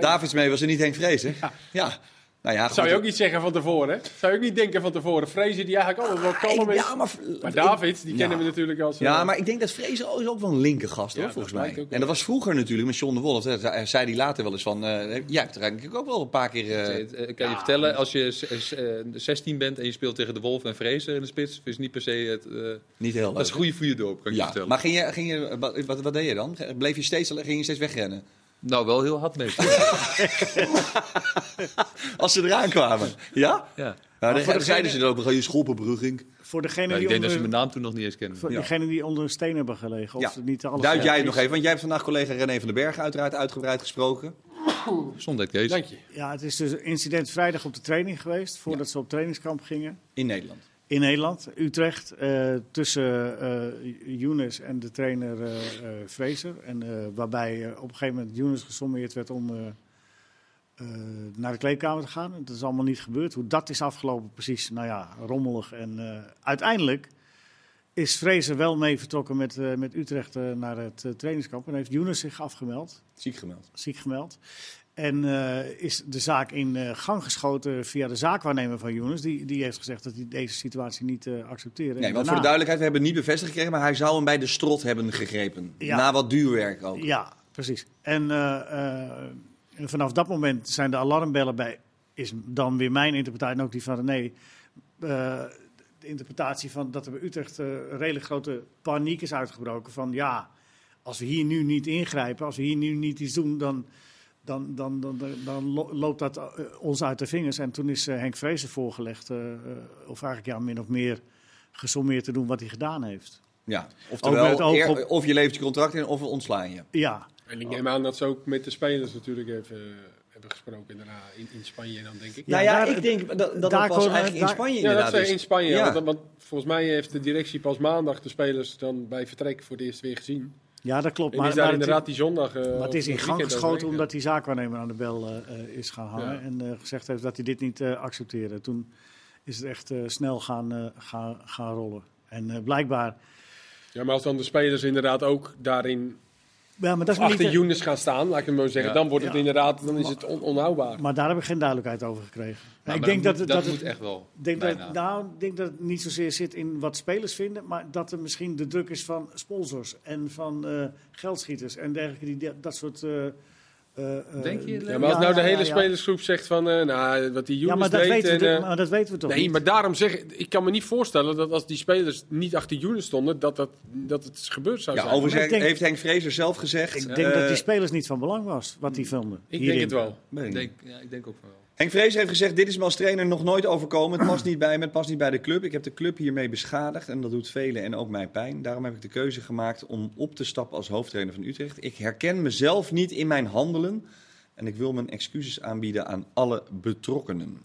Speaker 1: Davids mee was en niet Henk Vrees, hè? Ja. Nou ja,
Speaker 4: zou je
Speaker 1: goed.
Speaker 4: ook niet zeggen van tevoren. Hè? Zou je ook niet denken van tevoren. Vrezen die eigenlijk altijd wel kalm is.
Speaker 1: Ja, maar,
Speaker 4: Maar David, die
Speaker 1: Ja.
Speaker 4: kennen we natuurlijk als... eh,
Speaker 1: Ja, maar ik denk dat Vrees is ook wel een linkergast, hoor,
Speaker 4: Ja,
Speaker 1: volgens
Speaker 4: dat
Speaker 1: mij.
Speaker 4: lijkt ook wel.
Speaker 1: En dat was vroeger natuurlijk met John de Wolf. hè. Daar zei hij later wel eens van, eh, jij hebt er eigenlijk ook wel een paar keer... eh,
Speaker 3: Eh, eh, Ik kan je vertellen, als je s- s- eh, 16 bent en je speelt tegen de Wolf en Vrees in de spits, is niet per se het... eh,
Speaker 1: niet heel leuk.
Speaker 3: dat is goede voor je doop, kan ik je
Speaker 1: Ja,
Speaker 3: vertellen.
Speaker 1: maar ging je, ging je, wat, wat- wat deed je dan? Bleef je steeds, ging je steeds wegrennen?
Speaker 3: Nou, wel heel hard mee. ja.
Speaker 1: Als ze eraan kwamen. Ja?
Speaker 3: Ja,
Speaker 1: Nou, dan
Speaker 2: voor
Speaker 1: zeiden
Speaker 2: degene-
Speaker 1: ze dan ook, we gaan je schoolpebrugging.
Speaker 2: voor degene
Speaker 3: ik
Speaker 2: die,
Speaker 3: denk dat ze
Speaker 2: onder,
Speaker 3: mijn naam toen nog niet eens kennen.
Speaker 2: voor
Speaker 1: Ja.
Speaker 2: degene die onder een steen hebben gelegen. Of
Speaker 1: Ja.
Speaker 2: ze niet alles
Speaker 1: Duid jij het
Speaker 2: Ja,
Speaker 1: nog even, want jij hebt vandaag collega René van den Berg uiteraard uitgebreid gesproken.
Speaker 3: Gezondheid, Kees.
Speaker 4: Dank je.
Speaker 2: Ja, het is dus een incident vrijdag op de training geweest. Voordat ze op trainingskamp gingen.
Speaker 1: In Nederland.
Speaker 2: In Nederland, Utrecht, eh, tussen eh Younes en de trainer eh eh, Fraser. En, eh, waarbij eh, op een gegeven moment Younes gesommeerd werd om eh, eh, naar de kleedkamer te gaan. Dat is allemaal niet gebeurd. Hoe dat is afgelopen, precies, nou ja, rommelig. En eh, uiteindelijk is Fraser wel mee vertrokken met, eh, met Utrecht eh, naar het eh, trainingskamp. En heeft Younes zich afgemeld
Speaker 1: Ziek gemeld.
Speaker 2: ziek gemeld. En eh, is de zaak in eh, gang geschoten via de zaakwaarnemer van Younes. Die, die heeft gezegd dat hij deze situatie niet eh accepteert. En
Speaker 1: Nee, want voor de
Speaker 2: daarna-
Speaker 1: duidelijkheid, we hebben het niet bevestigd gekregen, maar hij zou hem bij de strot hebben gegrepen.
Speaker 2: Ja.
Speaker 1: Na wat duurwerk ook.
Speaker 2: Ja, precies. En eh, eh, vanaf dat moment zijn de alarmbellen bij, is dan weer mijn interpretatie en ook die van René. eh, de interpretatie van dat er bij Utrecht eh, een redelijk grote paniek is uitgebroken. Van ja, als we hier nu niet ingrijpen, als we hier nu niet iets doen, dan dan, dan, dan, dan, dan lo- loopt dat eh, ons uit de vingers. En toen is eh, Henk Vrezen voorgelegd, eh, eh, of eigenlijk ja, min of meer gesommeerd te doen wat hij gedaan heeft.
Speaker 1: Ja.
Speaker 2: Ook met
Speaker 1: Oftewel,
Speaker 2: oog
Speaker 1: eer-
Speaker 2: op-
Speaker 1: of je levert je contract in of we ontslaan je.
Speaker 2: Ja,
Speaker 4: En ik neem aan dat ze ook met de spelers natuurlijk even eh, hebben gesproken daarna in, in Spanje dan, denk ik.
Speaker 2: Ja,
Speaker 1: nou ja,
Speaker 2: daar-
Speaker 1: ik denk dat dat, dat
Speaker 2: daar
Speaker 1: was
Speaker 2: komen-
Speaker 1: eigenlijk in
Speaker 2: daar-
Speaker 1: Spanje
Speaker 4: Ja, dat
Speaker 1: inderdaad.
Speaker 4: is
Speaker 1: is.
Speaker 4: in Spanje.
Speaker 1: Ja.
Speaker 4: Want, want volgens mij heeft de directie pas maandag de spelers dan bij vertrek voor het eerst weer gezien.
Speaker 2: ja dat klopt.
Speaker 4: En is daar
Speaker 2: maar het-
Speaker 4: inderdaad die zondag... eh,
Speaker 2: Maar
Speaker 4: of
Speaker 2: het is in
Speaker 4: dat
Speaker 2: gang
Speaker 4: weekend
Speaker 2: geschoten
Speaker 4: overheen
Speaker 2: omdat die zaakwaarnemer aan de bel eh, eh, is gaan hangen.
Speaker 4: Ja.
Speaker 2: En eh, gezegd heeft dat hij dit niet eh accepteerde. Toen is het echt eh, snel gaan, eh, gaan, gaan rollen. En eh, blijkbaar.
Speaker 4: gaat. Ja, maar als dan de spelers inderdaad ook daarin
Speaker 2: Ja, maar, dat is maar niet,
Speaker 4: achter
Speaker 2: eh,
Speaker 4: Younes gaan staan, laat ik het maar zeggen,
Speaker 3: Ja.
Speaker 4: dan wordt het
Speaker 2: Ja.
Speaker 4: inderdaad dan is het on- onhoudbaar.
Speaker 2: maar daar heb ik geen duidelijkheid over gekregen.
Speaker 3: Maar-
Speaker 2: ik
Speaker 3: maar
Speaker 2: denk dat,
Speaker 3: moet-
Speaker 2: het-
Speaker 3: Nou, dat
Speaker 2: dat
Speaker 3: moet
Speaker 2: het-
Speaker 3: echt wel.
Speaker 2: denk dat,
Speaker 3: bijna.
Speaker 2: nou, ik denk dat het niet zozeer zit in wat spelers vinden, maar dat er misschien de druk is van sponsors en van eh, geldschieters en dergelijke die dat- dat soort. eh, eh, eh,
Speaker 3: Denk je, Leo?
Speaker 4: Ja, maar als
Speaker 2: ja,
Speaker 4: nou de
Speaker 2: ja,
Speaker 4: hele
Speaker 2: ja, ja.
Speaker 4: spelersgroep zegt van, eh, nou, wat die
Speaker 2: Ja,
Speaker 4: Younes
Speaker 2: maar dat,
Speaker 4: deed...
Speaker 2: weten we,
Speaker 4: en,
Speaker 2: toch-
Speaker 4: eh,
Speaker 2: maar dat weten we toch
Speaker 4: nee,
Speaker 2: niet?
Speaker 4: maar daarom zeg ik, ik kan me niet voorstellen dat als die spelers niet achter Younes stonden, dat, dat, dat het gebeurd zou
Speaker 1: Ja,
Speaker 4: zijn.
Speaker 1: overigens
Speaker 2: Maar ik denk-
Speaker 1: heeft Henk Vrezer zelf gezegd.
Speaker 2: Ik denk dat die
Speaker 1: eh,
Speaker 2: spelers niet van belang was, wat die filmden.
Speaker 4: ik
Speaker 2: hierin.
Speaker 4: denk het wel.
Speaker 1: nee.
Speaker 3: Ik denk, ja, ik denk ook van wel.
Speaker 1: Henk Vrezer heeft gezegd: Dit is me als trainer nog nooit overkomen. Het past niet bij me, het past niet bij de club. Ik heb de club hiermee beschadigd en dat doet velen en ook mij pijn. Daarom heb ik de keuze gemaakt om op te stappen als hoofdtrainer van Utrecht. Ik herken mezelf niet in mijn handelen en ik wil mijn excuses aanbieden aan alle betrokkenen.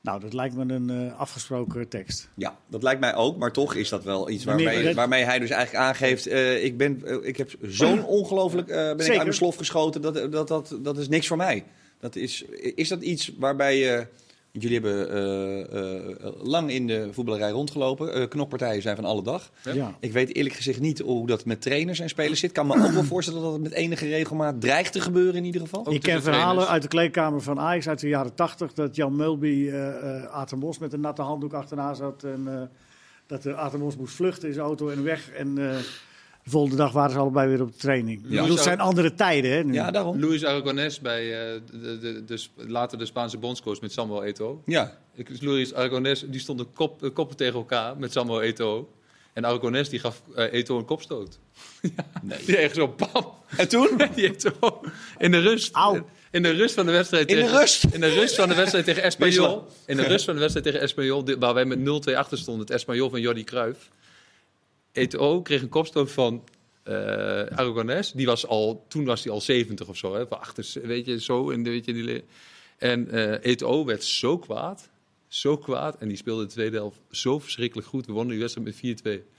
Speaker 2: Nou, dat lijkt me een eh, afgesproken tekst.
Speaker 1: Ja, dat lijkt mij ook, maar toch is dat wel iets
Speaker 2: Wanneer-
Speaker 1: waarmee,
Speaker 2: dat-
Speaker 1: waarmee hij dus eigenlijk aangeeft: eh, ik, ben, eh, ik heb zo'n ongelooflijk eh, ben ik
Speaker 2: Zeker.
Speaker 1: aan de slof geschoten, dat, dat, dat, dat is niks voor mij. Dat is, is dat iets waarbij je. Jullie hebben eh, eh, lang in de voetballerij rondgelopen. Eh, knokpartijen zijn van alle dag.
Speaker 2: Ja.
Speaker 3: Ja.
Speaker 1: Ik weet eerlijk gezegd niet hoe dat met trainers en spelers zit. Ik kan me ook wel voorstellen dat het met enige regelmaat dreigt te gebeuren in ieder geval.
Speaker 3: Ook
Speaker 2: Ik ken
Speaker 3: tussen
Speaker 2: verhalen
Speaker 3: trainers.
Speaker 2: uit de kleedkamer van Ajax uit de jaren 80 dat Jan Mulby eh eh Aad en Bos met een natte handdoek achterna zat. En eh, dat de Aad en Bos moest vluchten in zijn auto en weg. En eh, de volgende dag waren ze allebei weer op de training. Ik bedoel, het zijn andere tijden, hè? Nu.
Speaker 1: Ja, daarom.
Speaker 3: Luis Aragonés bij eh, de, de, de, Sp- later de Spaanse bondscoach met Samuel Eto'o.
Speaker 1: Ja,
Speaker 3: Ik- dus Luis Aragonés die stond een kop, eh, koppen tegen elkaar met Samuel Eto'o. En Aragonés die gaf eh, Eto'o een kopstoot.
Speaker 1: nee.
Speaker 3: Die echt zo bam.
Speaker 1: En toen?
Speaker 3: Die Eto'o in de rust.
Speaker 2: Au.
Speaker 3: In de rust van de wedstrijd
Speaker 1: In de
Speaker 3: tegen-
Speaker 1: rust?
Speaker 3: In de rust van de wedstrijd tegen
Speaker 1: Wisselen.
Speaker 3: Espanyol. In de rust van de wedstrijd tegen Espanyol, di- waar wij met 0-2 achter stonden. Het Espanyol van Jordi Cruijff. Eto'o kreeg een kopstoot van eh Aragonés. Die was al, toen was hij al 70 of zo. Hè, van achter, weet je, zo. En, weet je, die, le- en eh Eto'o werd zo kwaad. Zo kwaad. En die speelde de tweede helft zo verschrikkelijk goed. We wonnen die wedstrijd met 4-2.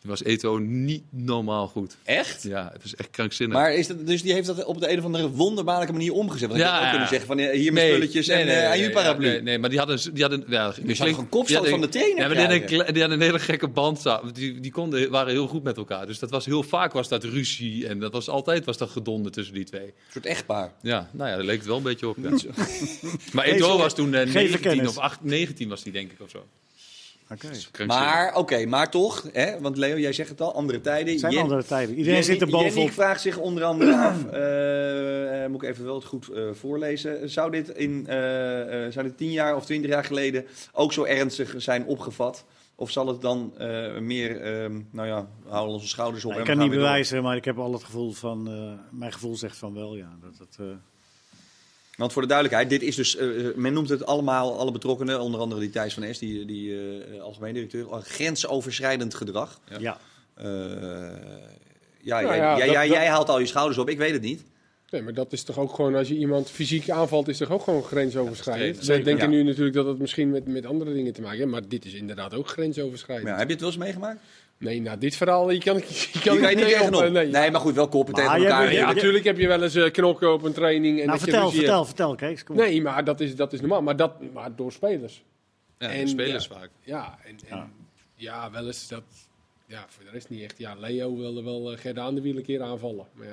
Speaker 3: Toen was Eto'o niet normaal goed.
Speaker 1: Echt?
Speaker 3: Ja, het was echt krankzinnig.
Speaker 1: Maar is dat, dus die heeft dat op de een of andere wonderbaarlijke manier omgezet. Want ja,
Speaker 3: Ja,
Speaker 1: ook
Speaker 3: ja.
Speaker 1: kunnen zeggen van eh, hier mijn spulletjes en eh, aan je paraplu.
Speaker 3: ja, Nee, nee, maar die hadden... Die hadden ja, die
Speaker 1: zouden gewoon kopstoot van de trainer
Speaker 3: Ja, maar die, hadden een,
Speaker 1: krijgen.
Speaker 3: kle- die hadden een hele gekke band. samen. Die, die konden, waren heel goed met elkaar. Dus dat was heel vaak was dat ruzie. En dat was altijd was dat gedonder tussen die twee.
Speaker 1: Een soort echtpaar.
Speaker 3: Ja, nou ja, daar leek het wel een beetje op. ja. maar Edo
Speaker 2: Geef-
Speaker 3: was toen eh,
Speaker 2: geef
Speaker 3: 19
Speaker 2: kennis.
Speaker 3: of 8, 19 was die denk ik of zo.
Speaker 2: Oké. Het
Speaker 1: Maar oké, maar toch, hè, want Leo, jij zegt het al, andere tijden.
Speaker 2: zijn
Speaker 1: Jen-
Speaker 2: andere tijden. Iedereen
Speaker 1: Jenny-
Speaker 2: zit er
Speaker 1: Jenny
Speaker 2: bovenop.
Speaker 1: vraagt zich onder andere af, eh, eh, moet ik even wel het goed eh, voorlezen. Zou dit, in, eh, eh, zou dit tien jaar of twintig jaar geleden ook zo ernstig zijn opgevat? Of zal het dan eh, meer, ehm, nou ja, we houden onze schouders op
Speaker 2: Nou, ik
Speaker 1: en we
Speaker 2: kan
Speaker 1: gaan
Speaker 2: niet
Speaker 1: weer door.
Speaker 2: bewijzen, maar ik heb al het gevoel van... eh, mijn gevoel zegt van wel, ja. Dat, dat, eh,
Speaker 1: Want voor de duidelijkheid, dit is dus, eh, eh, men noemt het allemaal, alle betrokkenen, onder andere die Thijs van Es, die, die eh, algemeen directeur, al grensoverschrijdend gedrag.
Speaker 3: Ja.
Speaker 2: ja.
Speaker 1: Eh, ja, jij,
Speaker 4: ja,
Speaker 1: jij,
Speaker 4: dat-
Speaker 1: jij,
Speaker 4: dat-
Speaker 1: jij haalt al je schouders op, ik weet het niet.
Speaker 4: Nee, maar dat is toch ook gewoon, als je iemand fysiek aanvalt, is toch ook gewoon grensoverschrijdend.
Speaker 3: Ja,
Speaker 4: Ze denken
Speaker 1: Ja.
Speaker 4: nu natuurlijk dat het misschien met, met andere dingen te maken heeft, maar dit is inderdaad ook grensoverschrijdend.
Speaker 1: Maar ja, heb je het wel eens meegemaakt?
Speaker 4: Nee, nou, dit verhaal, je kan, je
Speaker 1: Hier
Speaker 4: kan,
Speaker 1: kan je niet tegenop.
Speaker 4: eh,
Speaker 1: Nee,
Speaker 4: Nee,
Speaker 1: maar goed, wel koppen
Speaker 2: Maar
Speaker 1: tegen
Speaker 2: jij
Speaker 1: elkaar.
Speaker 2: bent-
Speaker 4: ja,
Speaker 2: Ja,
Speaker 4: natuurlijk heb je wel eens eh, knokken op een training. En
Speaker 2: Nou,
Speaker 4: dat je
Speaker 2: vertel,
Speaker 4: ruzie
Speaker 2: vertel,
Speaker 4: hebt.
Speaker 2: vertel, Kees. Kom op.
Speaker 4: Nee, maar dat is, dat is normaal. Maar, dat, maar door spelers.
Speaker 3: Ja,
Speaker 4: En-
Speaker 3: spelers
Speaker 4: ja.
Speaker 3: vaak.
Speaker 4: Ja, en, en, ja.
Speaker 2: Ja.
Speaker 4: wel eens dat... Ja, voor de rest niet echt. Ja, Leo wilde wel eh, Gerda aan de wiel een keer aanvallen. Maar ja,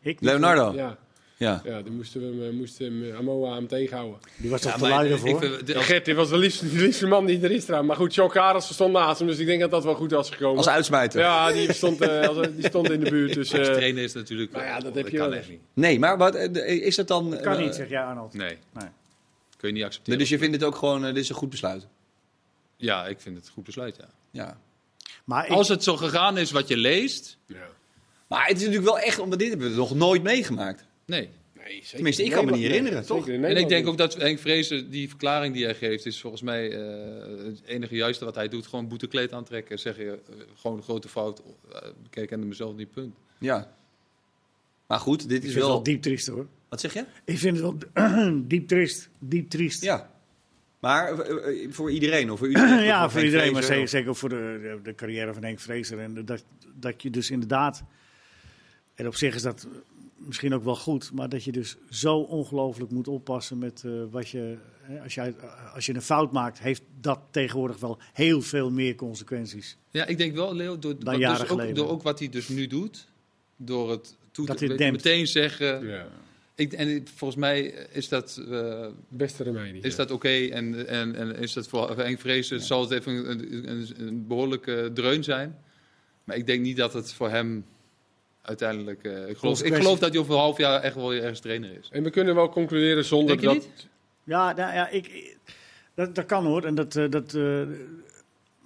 Speaker 4: eh,
Speaker 2: Ik, niet.
Speaker 1: Leonardo. Ja.
Speaker 4: ja, ja, dan moesten we hem, eh, moesten hem, eh, Amoa hem tegenhouden.
Speaker 2: Die was toch
Speaker 3: Ja,
Speaker 2: te
Speaker 3: maar
Speaker 2: lui
Speaker 3: ik- ik
Speaker 2: daarvoor?
Speaker 3: vind-
Speaker 4: Ja,
Speaker 3: als-
Speaker 4: Gert, dit was de liefste, de liefste man die er is trouwens. Maar goed, John Karels stond naast hem, dus ik denk dat dat wel goed was gekomen.
Speaker 1: Als uitsmijter.
Speaker 4: ja, die stond, eh, als- die stond in de buurt. Dus,
Speaker 3: als
Speaker 4: eh,
Speaker 3: trainer is het natuurlijk...
Speaker 4: nou ja, dat heb je
Speaker 3: kan
Speaker 4: wel
Speaker 3: echt
Speaker 4: eens.
Speaker 3: niet.
Speaker 1: Nee, maar wat, eh, de- is dat dan...
Speaker 2: Kan
Speaker 1: eh,
Speaker 2: niet, zeg jij Arnold.
Speaker 3: Nee,
Speaker 2: Nee.
Speaker 3: kun je niet
Speaker 1: nee,
Speaker 3: accepteren.
Speaker 1: dus je vindt het ook gewoon, eh, dit is een goed besluit?
Speaker 3: Ja, ik vind het een goed besluit, ja.
Speaker 1: Ja.
Speaker 2: Maar ik,
Speaker 3: Als het zo gegaan is wat je leest...
Speaker 4: ja.
Speaker 1: Maar het is natuurlijk wel echt, omdat dit hebben we nog nooit meegemaakt.
Speaker 3: Nee.
Speaker 4: Nee, zeker.
Speaker 1: Tenminste, ik kan me niet herinneren, toch?
Speaker 4: Zeker in
Speaker 3: En ik
Speaker 4: Nederland
Speaker 3: denk ook
Speaker 4: niet.
Speaker 3: dat Henk Vrezen, die verklaring die hij geeft, is volgens mij eh, het enige juiste wat hij doet. Gewoon boetekleed aantrekken. Zeg je, eh, gewoon een grote fout. eh, Ik herkende mezelf niet, punt.
Speaker 1: Ja. Maar goed, dit
Speaker 2: Ik
Speaker 1: is
Speaker 2: vind het wel
Speaker 1: wel...
Speaker 2: diep triest hoor.
Speaker 1: Wat zeg je?
Speaker 2: Ik vind het wel diep triest. Diep triest.
Speaker 1: Ja. Maar eh, eh, voor iedereen, of voor u?
Speaker 2: ja,
Speaker 1: Of
Speaker 2: voor
Speaker 1: Henk
Speaker 2: iedereen, maar
Speaker 1: Vrezer, of-
Speaker 2: zeker, zeker ook voor de, de, de carrière van Henk Vrezer. En dat, dat je dus inderdaad, en op zich is dat misschien ook wel goed, maar dat je dus zo ongelooflijk moet oppassen met eh, wat je, hè, als, jij, als je een fout maakt, heeft dat tegenwoordig wel heel veel meer consequenties.
Speaker 3: Ja, ik denk wel, Leo, door, wat
Speaker 2: jaren
Speaker 3: dus ook,
Speaker 2: geleden.
Speaker 3: door ook wat hij dus nu doet. Door het toe
Speaker 2: Dat
Speaker 3: te-
Speaker 2: dit dempt.
Speaker 3: meteen zeggen.
Speaker 4: Ja.
Speaker 3: Ik, en ik- volgens mij is dat, eh,
Speaker 4: Beste remedie.
Speaker 3: is
Speaker 4: ja.
Speaker 3: dat oké. En, en, en is dat voor Henk Vrezen, zal het even een, een, een behoorlijke dreun zijn. Maar ik denk niet dat het voor hem uiteindelijk... eh, ik, geloof, ik
Speaker 2: Consequenties.
Speaker 3: geloof dat hij over een half jaar echt wel weer ergens trainer is.
Speaker 4: En we kunnen wel concluderen zonder
Speaker 3: Denk je
Speaker 4: dat...
Speaker 2: Ja, nou ja, ik, ik- dat, dat kan hoor. En dat, eh, dat, eh,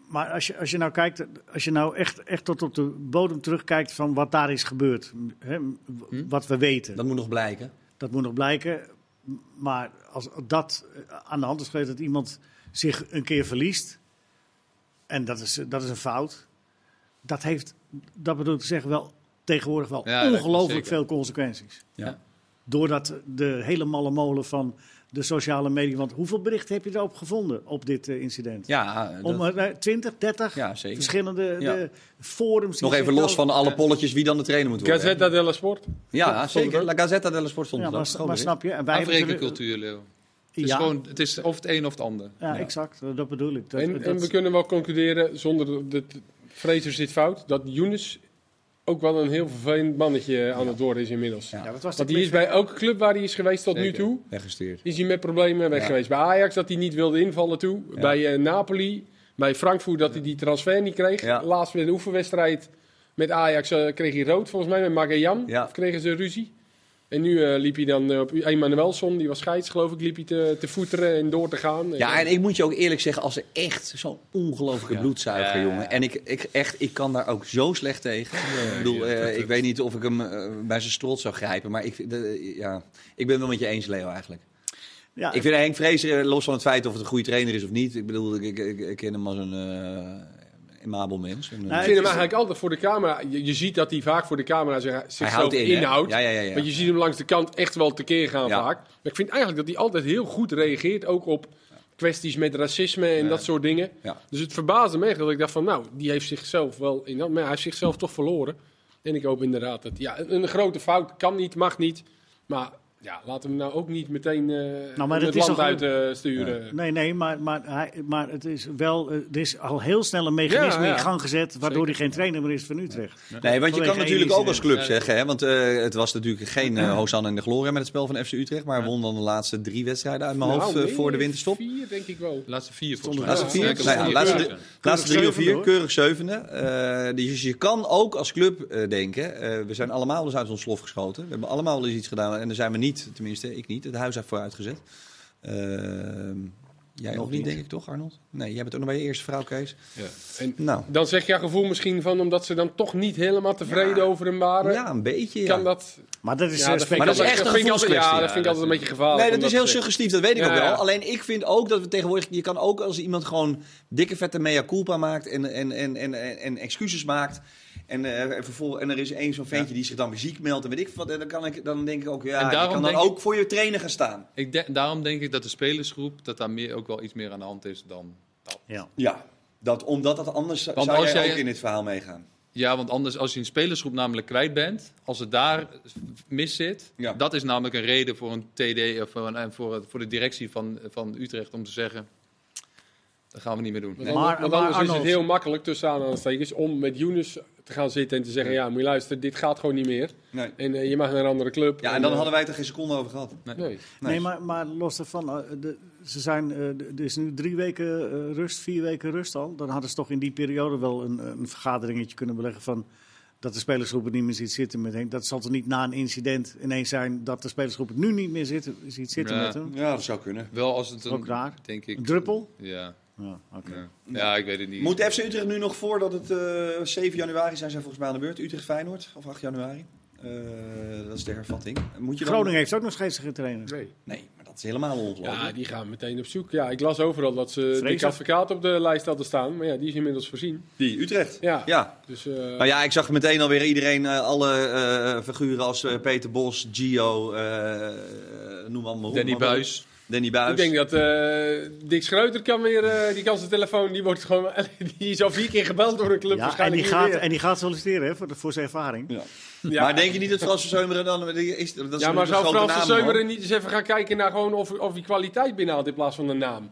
Speaker 2: maar als je, als je nou kijkt, als je nou echt, echt tot op de bodem terugkijkt van wat daar is gebeurd, hè, w-
Speaker 3: Hm?
Speaker 2: wat we weten.
Speaker 1: Dat moet nog blijken.
Speaker 2: Dat moet nog blijken. M- Maar als dat eh, aan de hand is geweest dat iemand zich een keer verliest. En dat is, eh, dat is een fout. Dat heeft, dat bedoel ik te zeggen, wel tegenwoordig wel
Speaker 3: Ja, dat
Speaker 2: ongelooflijk
Speaker 3: zeker.
Speaker 2: veel consequenties.
Speaker 1: Ja.
Speaker 2: Doordat de hele malle molen van de sociale media. Want hoeveel berichten heb je daarop gevonden op dit eh, incident?
Speaker 1: Ja, eh,
Speaker 2: Om
Speaker 1: dat-
Speaker 2: eh, 20, 30
Speaker 1: ja zeker.
Speaker 2: verschillende
Speaker 1: Ja.
Speaker 2: eh, forums. die
Speaker 1: Nog even
Speaker 2: zich
Speaker 1: los
Speaker 2: wel-
Speaker 1: van alle polletjes wie dan de trainer moet worden.
Speaker 4: Gazzetta dello Sport.
Speaker 1: Ja,
Speaker 4: Stond het
Speaker 1: zeker.
Speaker 4: ook?
Speaker 1: La Gazzetta dello Sport stond
Speaker 2: Ja,
Speaker 1: het ook.
Speaker 2: maar,
Speaker 1: Gewoon
Speaker 2: maar
Speaker 1: erin.
Speaker 2: snap je? En wij hebben het er-
Speaker 3: Afrekencultuur, Leo. Het is,
Speaker 2: Ja.
Speaker 3: gewoon, het is of het een of het ander.
Speaker 2: Ja,
Speaker 1: Ja.
Speaker 2: exact. Eh, Dat bedoel ik. Dat,
Speaker 4: en,
Speaker 2: dat-
Speaker 4: en we kunnen wel concluderen, zonder dat Fraser zit fout, dat Younes ook wel een heel vervelend mannetje aan het worden is inmiddels.
Speaker 1: Ja.
Speaker 2: Ja, dat was de
Speaker 4: Want die is bij elke club waar hij is geweest tot nu
Speaker 3: Zeker.
Speaker 4: toe,
Speaker 1: Weggestuurd.
Speaker 4: is hij met problemen weg
Speaker 1: Ja.
Speaker 4: geweest. Bij Ajax dat hij niet wilde invallen toe,
Speaker 1: Ja.
Speaker 4: bij eh, Napoli, bij Frankfurt dat hij die transfer niet kreeg.
Speaker 1: Ja.
Speaker 4: Laatst weer een oefenwedstrijd met Ajax eh, kreeg hij rood volgens mij, met Magajan
Speaker 1: Ja.
Speaker 4: Of kregen ze ruzie. En nu eh, liep hij dan eh, op Emanuelson, die was scheids geloof ik, liep hij te, te voeteren en door te gaan.
Speaker 1: Ja, en ik moet je ook eerlijk zeggen, als er echt zo'n ongelofelijke bloedzuiger,
Speaker 3: Ja.
Speaker 1: jongen. En ik, ik, echt, ik kan daar ook zo slecht tegen. ik bedoel, eh, ik weet niet of ik hem eh, bij zijn strot zou grijpen. Maar ik, vind- de- ja, ik ben wel met je eens, Leo, eigenlijk.
Speaker 2: Ja,
Speaker 1: Ik vind Henk Vrezer, eh, los van het feit of het een goede trainer is of niet. Ik bedoel, ik, ik, ik- ik ken hem als een eh immabel mens. Een,
Speaker 2: Nou,
Speaker 4: Ik
Speaker 1: eh,
Speaker 4: vind hem eigenlijk altijd voor de camera. Je, je ziet dat hij vaak voor de camera zich,
Speaker 1: hij
Speaker 4: zichzelf
Speaker 1: houdt in, hè?
Speaker 4: inhoudt.
Speaker 1: Ja, ja, ja. ja.
Speaker 4: Want je ziet hem langs de kant echt wel tekeer gaan
Speaker 1: Ja.
Speaker 4: vaak. Maar ik vind eigenlijk dat hij altijd heel goed reageert. Ook op kwesties met racisme en
Speaker 3: Ja.
Speaker 4: dat soort dingen.
Speaker 1: Ja.
Speaker 4: Dus het verbaasde me echt dat ik dacht van... Nou, die heeft zichzelf wel... In, maar hij heeft zichzelf toch verloren. En ik hoop inderdaad dat... Ja, een, een grote fout kan niet, mag niet. Maar ja, laten we hem nou ook niet meteen eh,
Speaker 2: Nou, maar dat
Speaker 4: het
Speaker 2: is
Speaker 4: land
Speaker 2: toch
Speaker 4: uit eh, sturen.
Speaker 2: Nee, nee, maar, maar, hij, maar het is wel, eh, er is al heel snel een mechanisme
Speaker 4: Ja, ja.
Speaker 2: in gang gezet... waardoor
Speaker 3: Zeker.
Speaker 2: hij geen trainer meer is van Utrecht.
Speaker 1: Nee, want je
Speaker 2: Vanwege
Speaker 1: kan natuurlijk ook als club
Speaker 3: Ja.
Speaker 1: zeggen, hè, want eh, het was natuurlijk geen eh Hosanna in de Gloria met het spel van FC Utrecht, maar won dan de laatste drie wedstrijden uit mijn
Speaker 4: Nou,
Speaker 1: hoofd eh,
Speaker 4: nee,
Speaker 1: voor de winterstop.
Speaker 4: Vier, denk ik wel.
Speaker 3: De laatste vier volgens
Speaker 2: Stonden
Speaker 1: Laatste
Speaker 2: er
Speaker 3: mij.
Speaker 4: Ja,
Speaker 1: vier,
Speaker 4: zeker.
Speaker 1: nou ja,
Speaker 4: Ja,
Speaker 1: laatste,
Speaker 4: keurig.
Speaker 1: laatste drie of
Speaker 2: zevende,
Speaker 1: vier,
Speaker 2: hoor.
Speaker 1: keurig zevende. Eh, dus je kan ook als club eh, denken, eh, we zijn allemaal dus uit ons slof geschoten. We hebben allemaal dus iets gedaan en daar zijn we niet, tenminste ik niet, het huis heeft vooruit gezet. Ehm, jij
Speaker 2: Nog
Speaker 1: ook niet,
Speaker 2: niet.
Speaker 1: denk ik toch, Arnold? Nee, jij bent ook nog bij je eerste vrouw, Kees.
Speaker 4: En
Speaker 1: Nou,
Speaker 4: Dan zeg je gevoel misschien van omdat ze dan toch niet helemaal tevreden over hem waren.
Speaker 1: ja, een beetje. Ja.
Speaker 4: Kan dat?
Speaker 2: Maar dat is
Speaker 4: Ja,
Speaker 2: eh,
Speaker 4: dat vind ik
Speaker 1: Maar dat
Speaker 2: speculatie.
Speaker 1: is
Speaker 4: altijd-
Speaker 1: echt een
Speaker 4: vind ik altijd, Ja,
Speaker 1: gevoelskwestie.
Speaker 4: dat vind ik altijd een beetje
Speaker 3: Oh,
Speaker 4: gevaarlijk.
Speaker 1: Nee, dat
Speaker 4: om
Speaker 1: is heel
Speaker 4: te zeggen.
Speaker 1: suggestief, dat weet ik
Speaker 4: Ja,
Speaker 1: ook wel.
Speaker 4: ja.
Speaker 1: Alleen ik vind ook dat we tegenwoordig, je kan ook als iemand gewoon dikke vette mea culpa maakt en, en, en, en, en, en excuses maakt. En, eh, en, vervol- en er is één zo'n ventje die zich dan weer ziek meldt en weet ik wat. En dan, kan ik, dan denk ik ook, ja,
Speaker 3: En
Speaker 1: je
Speaker 3: daarom
Speaker 1: kan dan
Speaker 3: denk ik-
Speaker 1: ook voor je trainer gaan staan.
Speaker 3: Ik denk- daarom denk ik dat de spelersgroep, dat daar meer, ook wel iets meer aan de hand is dan...
Speaker 2: Ja.
Speaker 1: Ja, dat, omdat dat anders
Speaker 3: Want
Speaker 1: zou
Speaker 3: als
Speaker 1: jij,
Speaker 3: jij-
Speaker 1: ook in dit verhaal meegaan.
Speaker 3: Ja, want anders als je een spelersgroep namelijk kwijt bent, als het daar mis zit,
Speaker 1: Ja.
Speaker 3: dat is namelijk een reden voor een TD of voor, een, en voor, voor de directie van, eh, van Utrecht om te zeggen, dat gaan we niet meer doen.
Speaker 4: Want anders,
Speaker 2: Maar-
Speaker 4: want
Speaker 2: maar
Speaker 4: anders is het
Speaker 2: Arnold-
Speaker 4: heel makkelijk tussen aanhalingstekens om met Younes te gaan zitten en te zeggen: Ja, moet je luisteren, dit gaat gewoon niet meer.
Speaker 1: Nee.
Speaker 4: En eh, je mag naar een andere club. eh,
Speaker 1: Ja, en
Speaker 3: eh,
Speaker 1: dan hadden wij het er geen seconde over gehad.
Speaker 4: Nee.
Speaker 1: Nee.
Speaker 2: Nee, maar, maar los daarvan, eh, de- ze zijn, eh, de- er is nu drie weken eh, rust, vier weken rust al. Dan hadden ze toch in die periode wel een, een vergaderingetje kunnen beleggen van... dat de spelersgroep het niet meer ziet zitten met hem. Dat zal toch niet na een incident ineens zijn dat de spelersgroep het nu niet meer zitten, ziet zitten
Speaker 3: Ja.
Speaker 2: met hem?
Speaker 1: Ja, dat zou kunnen.
Speaker 3: Wel als het een,
Speaker 2: Ook raar.
Speaker 3: denk ik,
Speaker 2: Een druppel?
Speaker 3: Ja,
Speaker 2: Ja, oké.
Speaker 3: ja. ja, ik weet het niet.
Speaker 1: Moet FC Utrecht nu nog voordat het eh 7 januari zijn, zijn volgens mij aan de beurt? Utrecht-Feyenoord of 8 januari? Eh, Eh, dat is de hervatting. Moet je dan-
Speaker 2: Groningen heeft ook nog steeds geen trainer.
Speaker 4: Nee.
Speaker 1: Nee, maar dat is helemaal ongelooflijk.
Speaker 4: Ja, die gaan meteen op zoek. Ja, ik las overal dat ze Dick
Speaker 2: Vrezen.
Speaker 4: Advocaat op de lijst hadden staan. Maar ja, die is inmiddels voorzien.
Speaker 1: Die Utrecht.
Speaker 4: Ja.
Speaker 1: Ja.
Speaker 4: Dus, eh,
Speaker 1: Nou ja, ik zag meteen alweer iedereen, eh, alle eh, figuren als eh, Peter Bos, Gio, eh, noem allemaal op.
Speaker 3: Danny
Speaker 1: Maar-
Speaker 3: Buis.
Speaker 1: Danny Buis.
Speaker 4: Ik denk dat eh, Dick Schreuter kan weer, eh, die kan zijn telefoon, die wordt gewoon, die is al vier keer gebeld door een club
Speaker 2: Ja, en,
Speaker 4: waarschijnlijk
Speaker 2: die gaat,
Speaker 4: nu weer.
Speaker 2: en die gaat solliciteren hè, voor, de- voor zijn ervaring.
Speaker 1: Ja.
Speaker 4: Ja.
Speaker 1: Maar denk je niet dat Frans van Zeumeren dan... Is, dat is
Speaker 4: ja, maar
Speaker 1: een
Speaker 4: zou
Speaker 1: grote
Speaker 4: Frans van
Speaker 1: naam, hoor.
Speaker 4: Zeumeren niet eens even gaan kijken naar gewoon of, of hij kwaliteit binnenhaalt in plaats van een naam?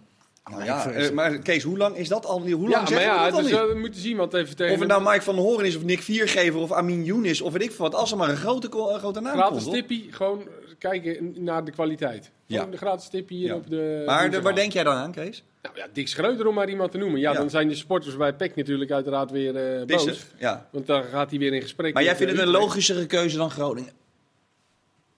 Speaker 1: Nou ja, eh, maar Kees, hoe lang is dat al? niet? Hoe
Speaker 4: ja,
Speaker 1: lang
Speaker 4: maar
Speaker 1: zeggen we
Speaker 4: ja,
Speaker 1: dat al
Speaker 4: dus
Speaker 1: niet?
Speaker 4: eh, we moeten zien wat even tegen
Speaker 1: Of het nou Mike van den Horen is, of Nick Viergever, of Amin Younis, of weet ik veel wat. Als er maar een grote, ko- een grote naam
Speaker 4: gratis
Speaker 1: komt. hoor.
Speaker 4: tippie, gewoon kijken naar de kwaliteit.
Speaker 1: Ja.
Speaker 4: Gewoon de gratis tippie hier
Speaker 1: Ja.
Speaker 4: op de...
Speaker 1: Maar de-
Speaker 4: woensdag.
Speaker 1: waar denk jij dan aan, Kees?
Speaker 4: Nou ja, Dick Schreuder om maar iemand te noemen. Ja,
Speaker 1: Ja.
Speaker 4: dan zijn de sporters bij PEC natuurlijk uiteraard weer eh boos.
Speaker 1: Dissen? Ja.
Speaker 4: Want dan gaat hij weer in gesprek.
Speaker 1: Maar jij
Speaker 4: met,
Speaker 1: vindt
Speaker 4: eh,
Speaker 1: het een
Speaker 4: Utrecht.
Speaker 1: logischere keuze dan Groningen?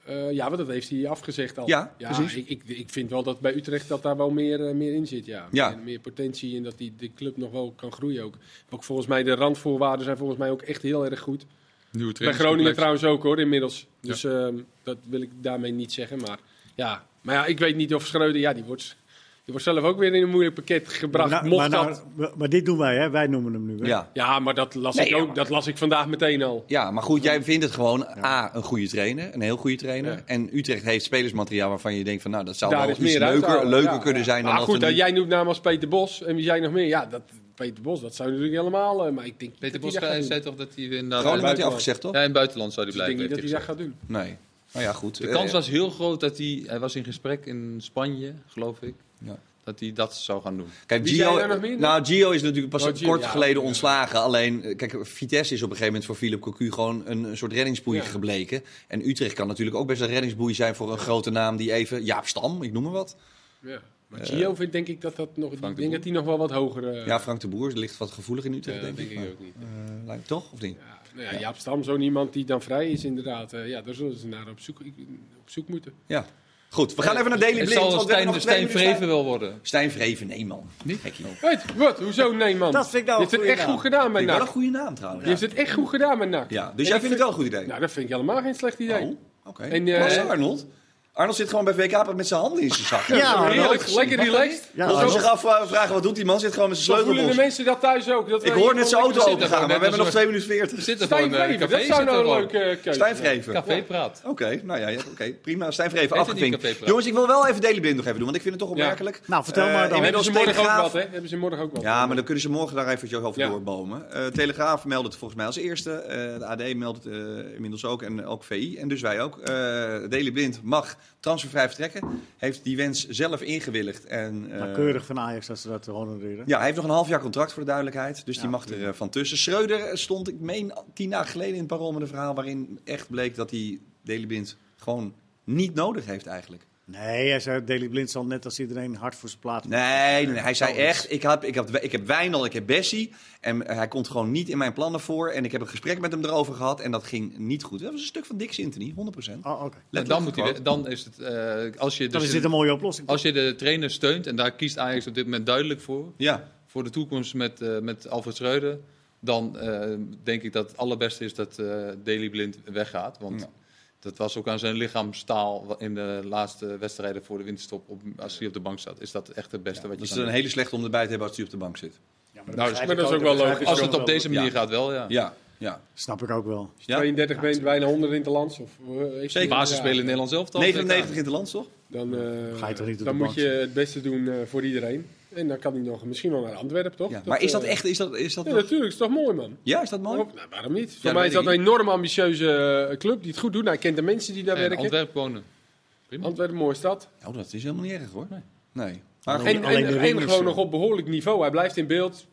Speaker 4: Eh, ja, want dat heeft hij afgezegd al.
Speaker 1: Ja, precies.
Speaker 4: Ik, ik, ik vind wel dat bij Utrecht dat daar wel meer, eh, meer in zit. Ja.
Speaker 1: Ja.
Speaker 4: Meer, meer potentie en dat die, de club nog wel kan groeien ook. Ook volgens mij, de randvoorwaarden zijn volgens mij ook echt heel erg goed.
Speaker 3: Nieuwe
Speaker 4: Bij Groningen trouwens ook hoor, inmiddels. Dus ehm, dat wil ik daarmee niet zeggen. Maar ja, maar ja ik weet niet of Schreuder, ja, die wordt, die wordt zelf ook weer in een moeilijk pakket gebracht.
Speaker 2: Nou,
Speaker 4: mocht
Speaker 2: maar, nou,
Speaker 4: dat...
Speaker 2: maar- maar dit doen wij, hè? wij noemen hem nu. Hè?
Speaker 1: Ja.
Speaker 4: Ja, maar dat las,
Speaker 1: Nee,
Speaker 4: ik
Speaker 1: ja,
Speaker 4: ook,
Speaker 1: maar-
Speaker 4: dat las ik vandaag meteen al.
Speaker 1: Ja, maar goed, jij vindt het gewoon A, een goede trainer, een heel goede trainer.
Speaker 4: Ja.
Speaker 1: En Utrecht heeft spelersmateriaal waarvan je denkt van, nou, dat zou
Speaker 4: Daar
Speaker 1: wel
Speaker 4: is
Speaker 1: iets
Speaker 4: meer uit te
Speaker 1: leuker,
Speaker 4: halen,
Speaker 1: leuker
Speaker 4: ja.
Speaker 1: kunnen zijn dan
Speaker 4: Maar
Speaker 1: als
Speaker 4: goed,
Speaker 1: er
Speaker 4: dat
Speaker 1: nu-
Speaker 4: jij noemt naam als Peter Bos. En wie jij nog meer? Ja, dat, Peter Bos, dat zou natuurlijk helemaal... eh, maar ik denk
Speaker 3: Peter
Speaker 4: dat
Speaker 3: Bos
Speaker 4: hij dat
Speaker 3: zei
Speaker 4: gaat doen.
Speaker 3: zei toch dat hij inderdaad...
Speaker 1: Groningen had hij
Speaker 4: buitenland.
Speaker 1: afgezegd, toch?
Speaker 3: Ja, in het buitenland zou hij
Speaker 4: Dus ik denk
Speaker 3: blijven.
Speaker 4: niet dat hij
Speaker 3: heeft
Speaker 4: dat
Speaker 3: hij
Speaker 4: gaat doen.
Speaker 1: Nee. Nou ja, goed.
Speaker 3: gezegd. De kans was heel groot dat hij... Hij was in gesprek in Spanje, geloof ik.
Speaker 1: Ja.
Speaker 3: Dat hij dat zou gaan doen.
Speaker 1: Kijk,
Speaker 4: Wie
Speaker 1: Gio,
Speaker 4: zei er nog meer?
Speaker 1: nou, Gio is natuurlijk pas
Speaker 4: Oh, Gio,
Speaker 1: kort
Speaker 4: ja.
Speaker 1: geleden ontslagen. Alleen, eh, kijk, Vitesse is op een gegeven moment voor Philip Cocu gewoon een, een soort reddingsboei
Speaker 4: Ja.
Speaker 1: gebleken. En Utrecht kan natuurlijk ook best een reddingsboei zijn voor een grote naam die even... Jaap Stam, ik noem maar wat.
Speaker 4: Ja. Maar Gio vindt denk ik dat dat nog... Ik
Speaker 3: Frank de
Speaker 4: denk
Speaker 3: Boer.
Speaker 4: dat hij nog wel wat hoger... eh,
Speaker 1: Ja, Frank de Boer ligt wat gevoelig in Utrecht,
Speaker 4: eh,
Speaker 1: denk, ik. maar,
Speaker 4: ook niet.
Speaker 1: eh, lijkt toch, of niet?
Speaker 4: Ja, nou ja, Jaap Stam, zo'n iemand die dan vrij is inderdaad. eh, ja, daar zullen ze naar op zoek, ik- op zoek moeten.
Speaker 1: Ja. Goed, we gaan even naar Daily
Speaker 3: Het
Speaker 1: Blind.
Speaker 3: zal
Speaker 1: want we hebben
Speaker 3: Stijn,
Speaker 1: nog twee
Speaker 3: Stijn
Speaker 1: minuten
Speaker 3: Vreven wel worden.
Speaker 1: Stijn Vreven, nee man.
Speaker 3: Niet?
Speaker 1: Gekkie.
Speaker 4: Wat? Wat? Hoezo? Nee, man.
Speaker 2: Dat vind ik nou
Speaker 4: Je
Speaker 2: een
Speaker 4: hebt het
Speaker 2: goede
Speaker 4: echt
Speaker 2: naam.
Speaker 4: goed gedaan bij
Speaker 1: Vind ik wel een
Speaker 4: NAC.
Speaker 1: goede naam trouwens.
Speaker 4: Je hebt het echt goed gedaan bij NAC.
Speaker 1: Ja,
Speaker 4: nou, En
Speaker 1: dus jij
Speaker 4: ik
Speaker 1: vindt het wel een goed idee?
Speaker 4: Nou, dat vind ik helemaal geen slecht idee.
Speaker 1: Oh, oké.
Speaker 4: En,
Speaker 1: Waar is
Speaker 4: eh,
Speaker 1: Arnold? Arnold zit gewoon bij VK met zijn handen in zijn zak.
Speaker 2: Ja,
Speaker 4: Zo
Speaker 2: Arnold.
Speaker 4: heerlijk, lekker relaxed.
Speaker 2: Ja,
Speaker 1: Als we
Speaker 2: Arnold.
Speaker 1: zich afvragen, wat doet die man? Zit gewoon met
Speaker 4: Zo
Speaker 1: zijn
Speaker 4: voelen de
Speaker 1: sleutelbos.
Speaker 4: mensen dat thuis ook. Dat
Speaker 1: Ik
Speaker 4: wij
Speaker 1: hoor net zijn
Speaker 4: gewoon
Speaker 1: auto
Speaker 4: lekker
Speaker 1: open
Speaker 4: zitten.
Speaker 1: gaan, maar we hebben nog
Speaker 3: een
Speaker 1: 2 minuten 40.
Speaker 3: Zit er
Speaker 4: Stijn
Speaker 3: gewoon eh,
Speaker 4: Vreven, dat
Speaker 3: café,
Speaker 4: zou
Speaker 3: zit er
Speaker 4: nou een
Speaker 3: gewoon.
Speaker 4: leuke eh, keuze
Speaker 1: Stijn
Speaker 4: zijn.
Speaker 1: Vreven.
Speaker 3: Café praat.
Speaker 1: Oké, nou ja, ja, oké, prima. Stijn Vreven,
Speaker 3: Heet het niet
Speaker 1: afgevinkt.
Speaker 3: Cafépraat?
Speaker 1: Jongens, ik wil wel even Daily Blind nog even doen, want ik vind het toch
Speaker 4: Ja.
Speaker 1: opmerkelijk.
Speaker 2: Nou, vertel
Speaker 1: Eh,
Speaker 2: maar dan.
Speaker 4: Hebben
Speaker 1: Inmiddels
Speaker 4: ze morgen ook wat,
Speaker 1: Telegraaf.
Speaker 4: hè? Hebben ze morgen ook wat.
Speaker 1: Ja, maar dan kunnen ze morgen daar eventjes over
Speaker 4: Ja.
Speaker 1: doorbomen. Eh, Telegraaf meldt het volgens mij als eerste. Eh, de AD meldt het eh, inmiddels ook en ook VI. En dus wij ook. Eh Daily Blind mag transfervrij vertrekken. Heeft die wens zelf ingewilligd. En, eh,
Speaker 2: Maar Nou, keurig van Ajax dat ze dat honoreren.
Speaker 1: Ja, hij heeft nog een half jaar contract voor de duidelijkheid. Dus die
Speaker 2: Ja,
Speaker 1: mag er eh, van tussen. Schreuder stond, ik meen, tien dagen geleden in het Parool met een verhaal... waarin echt bleek dat hij Delibind gewoon niet nodig heeft eigenlijk.
Speaker 2: Nee, hij zei Daily Blind zal net als iedereen hard voor zijn plaats.
Speaker 1: Nee, nee hij zei
Speaker 2: zoiets.
Speaker 1: echt, ik, heb ik, heb ik heb Wijnal, ik heb Bessie... en eh, hij komt gewoon niet in mijn plannen voor. En ik heb een gesprek met hem erover gehad en dat ging niet goed. Dat was een stuk van Dick Sintony, 100%.
Speaker 2: Oh, oké.
Speaker 3: En dan, moet hij, we- dan is het... eh, als je
Speaker 2: Dan
Speaker 3: dus
Speaker 2: is dit een mooie oplossing.
Speaker 3: Als je de trainer steunt, en daar kiest Ajax op dit moment duidelijk voor,
Speaker 1: Ja,
Speaker 3: voor de toekomst met, eh, met Alfred Schreuder, dan eh, denk ik dat het allerbeste is dat eh Daley Blind weggaat. Want
Speaker 1: Ja.
Speaker 3: dat was ook aan zijn lichaamstaal wa- in de laatste wedstrijden voor de winterstop, op, als hij op de bank zat. Is dat echt het beste wat
Speaker 1: dat
Speaker 3: je
Speaker 1: is
Speaker 3: kan
Speaker 1: een
Speaker 3: doen.
Speaker 1: hele slechte om erbij te hebben als hij op de bank zit.
Speaker 2: Ja, maar
Speaker 3: Nou,
Speaker 2: begrijp
Speaker 4: maar
Speaker 2: ik
Speaker 4: dat is ook wel
Speaker 2: begrijp ik
Speaker 4: logisch.
Speaker 3: Als het
Speaker 2: wel.
Speaker 3: op deze manier
Speaker 1: Ja.
Speaker 3: gaat wel, ja.
Speaker 1: Ja, ja.
Speaker 2: Snap ik ook wel.
Speaker 1: ja?
Speaker 4: 32 bent bijna 100 in het land. Of, eh,
Speaker 1: Zeker.
Speaker 3: Basisspelen in Nederland zelf dan.
Speaker 1: 99 in het land, toch?
Speaker 4: Dan, eh,
Speaker 2: Ga je toch niet op de
Speaker 4: dan
Speaker 2: bank
Speaker 4: moet je
Speaker 2: zitten?
Speaker 4: het beste doen eh, voor iedereen. En dan kan hij nog misschien wel naar Antwerpen, toch?
Speaker 1: Ja. Maar is dat
Speaker 4: eh,
Speaker 1: echt, is dat, is dat
Speaker 4: Ja,
Speaker 1: nog-
Speaker 4: natuurlijk. Is toch mooi, man?
Speaker 1: Ja, is dat mooi?
Speaker 4: Waarom- nou, waarom niet? Voor
Speaker 1: dat
Speaker 4: mij
Speaker 1: weet
Speaker 4: is dat
Speaker 1: ik
Speaker 4: een enorm ambitieuze eh, club die het goed doet. Hij kent de mensen die daar
Speaker 3: En
Speaker 4: werken.
Speaker 3: Antwerpen wonen. Prima.
Speaker 4: Antwerpen, mooie stad.
Speaker 1: Nou, dat is helemaal niet erg hoor. Nee.
Speaker 2: Maar
Speaker 1: Maar
Speaker 2: goed.
Speaker 4: En,
Speaker 2: Alleen de
Speaker 4: en,
Speaker 2: ring
Speaker 4: en
Speaker 2: is
Speaker 4: gewoon
Speaker 2: zo.
Speaker 4: nog op behoorlijk niveau. Hij blijft in beeld.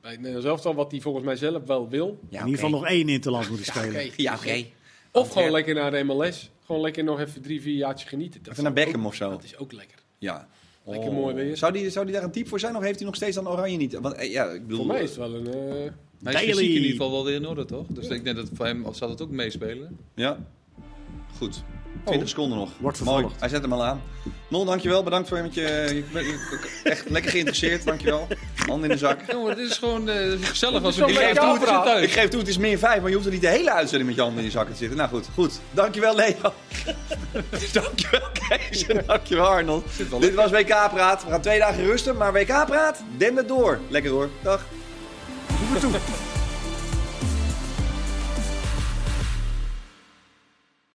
Speaker 4: Bij het Nederlands elftal, wat hij volgens mij zelf wel wil.
Speaker 2: in ieder geval nog één in het land moeten spelen.
Speaker 1: Ja, oké.
Speaker 4: Of gewoon lekker naar de MLS. Gewoon lekker nog even drie, vier jaartjes genieten. Dat
Speaker 1: Even
Speaker 4: is
Speaker 1: naar Beckham of zo.
Speaker 4: Dat is ook lekker.
Speaker 1: Ja.
Speaker 4: Lekker mooi weer.
Speaker 1: Zou die, zou die daar een type voor zijn of heeft hij nog steeds dan Oranje niet? Want eh, ja, ik bedoel...
Speaker 4: Voor mij is het wel een... eh,
Speaker 3: Hij is
Speaker 2: Daley.
Speaker 3: fysiek in ieder geval wel weer in orde, toch? Dus ik denk dat voor hem zal het ook meespelen.
Speaker 1: Ja. Goed.
Speaker 4: Oh.
Speaker 1: 20 seconden nog.
Speaker 2: Wordt
Speaker 1: Mooi,
Speaker 2: vervolgd.
Speaker 1: hij zet hem al aan. Nol, dankjewel. Bedankt voor je. met je- Je bent echt lekker geïnteresseerd. Dankjewel. Hand in de zak.
Speaker 3: Jongen, eh, het is gewoon eh, gezellig als
Speaker 4: is
Speaker 3: we
Speaker 4: wel
Speaker 3: die
Speaker 4: lekker
Speaker 3: even
Speaker 4: praten.
Speaker 1: Ik
Speaker 3: thuis.
Speaker 1: geef toe, het is meer 5, maar je hoeft er niet de hele uitzending met je handen in je zakken te zitten. Nou goed, goed. Dankjewel Leo. dankjewel Kees en dankjewel Arnold. Dit was WK Praat. We gaan twee dagen rusten, maar WK Praat, den het door. Lekker hoor. Dag.
Speaker 2: Doe maar toe.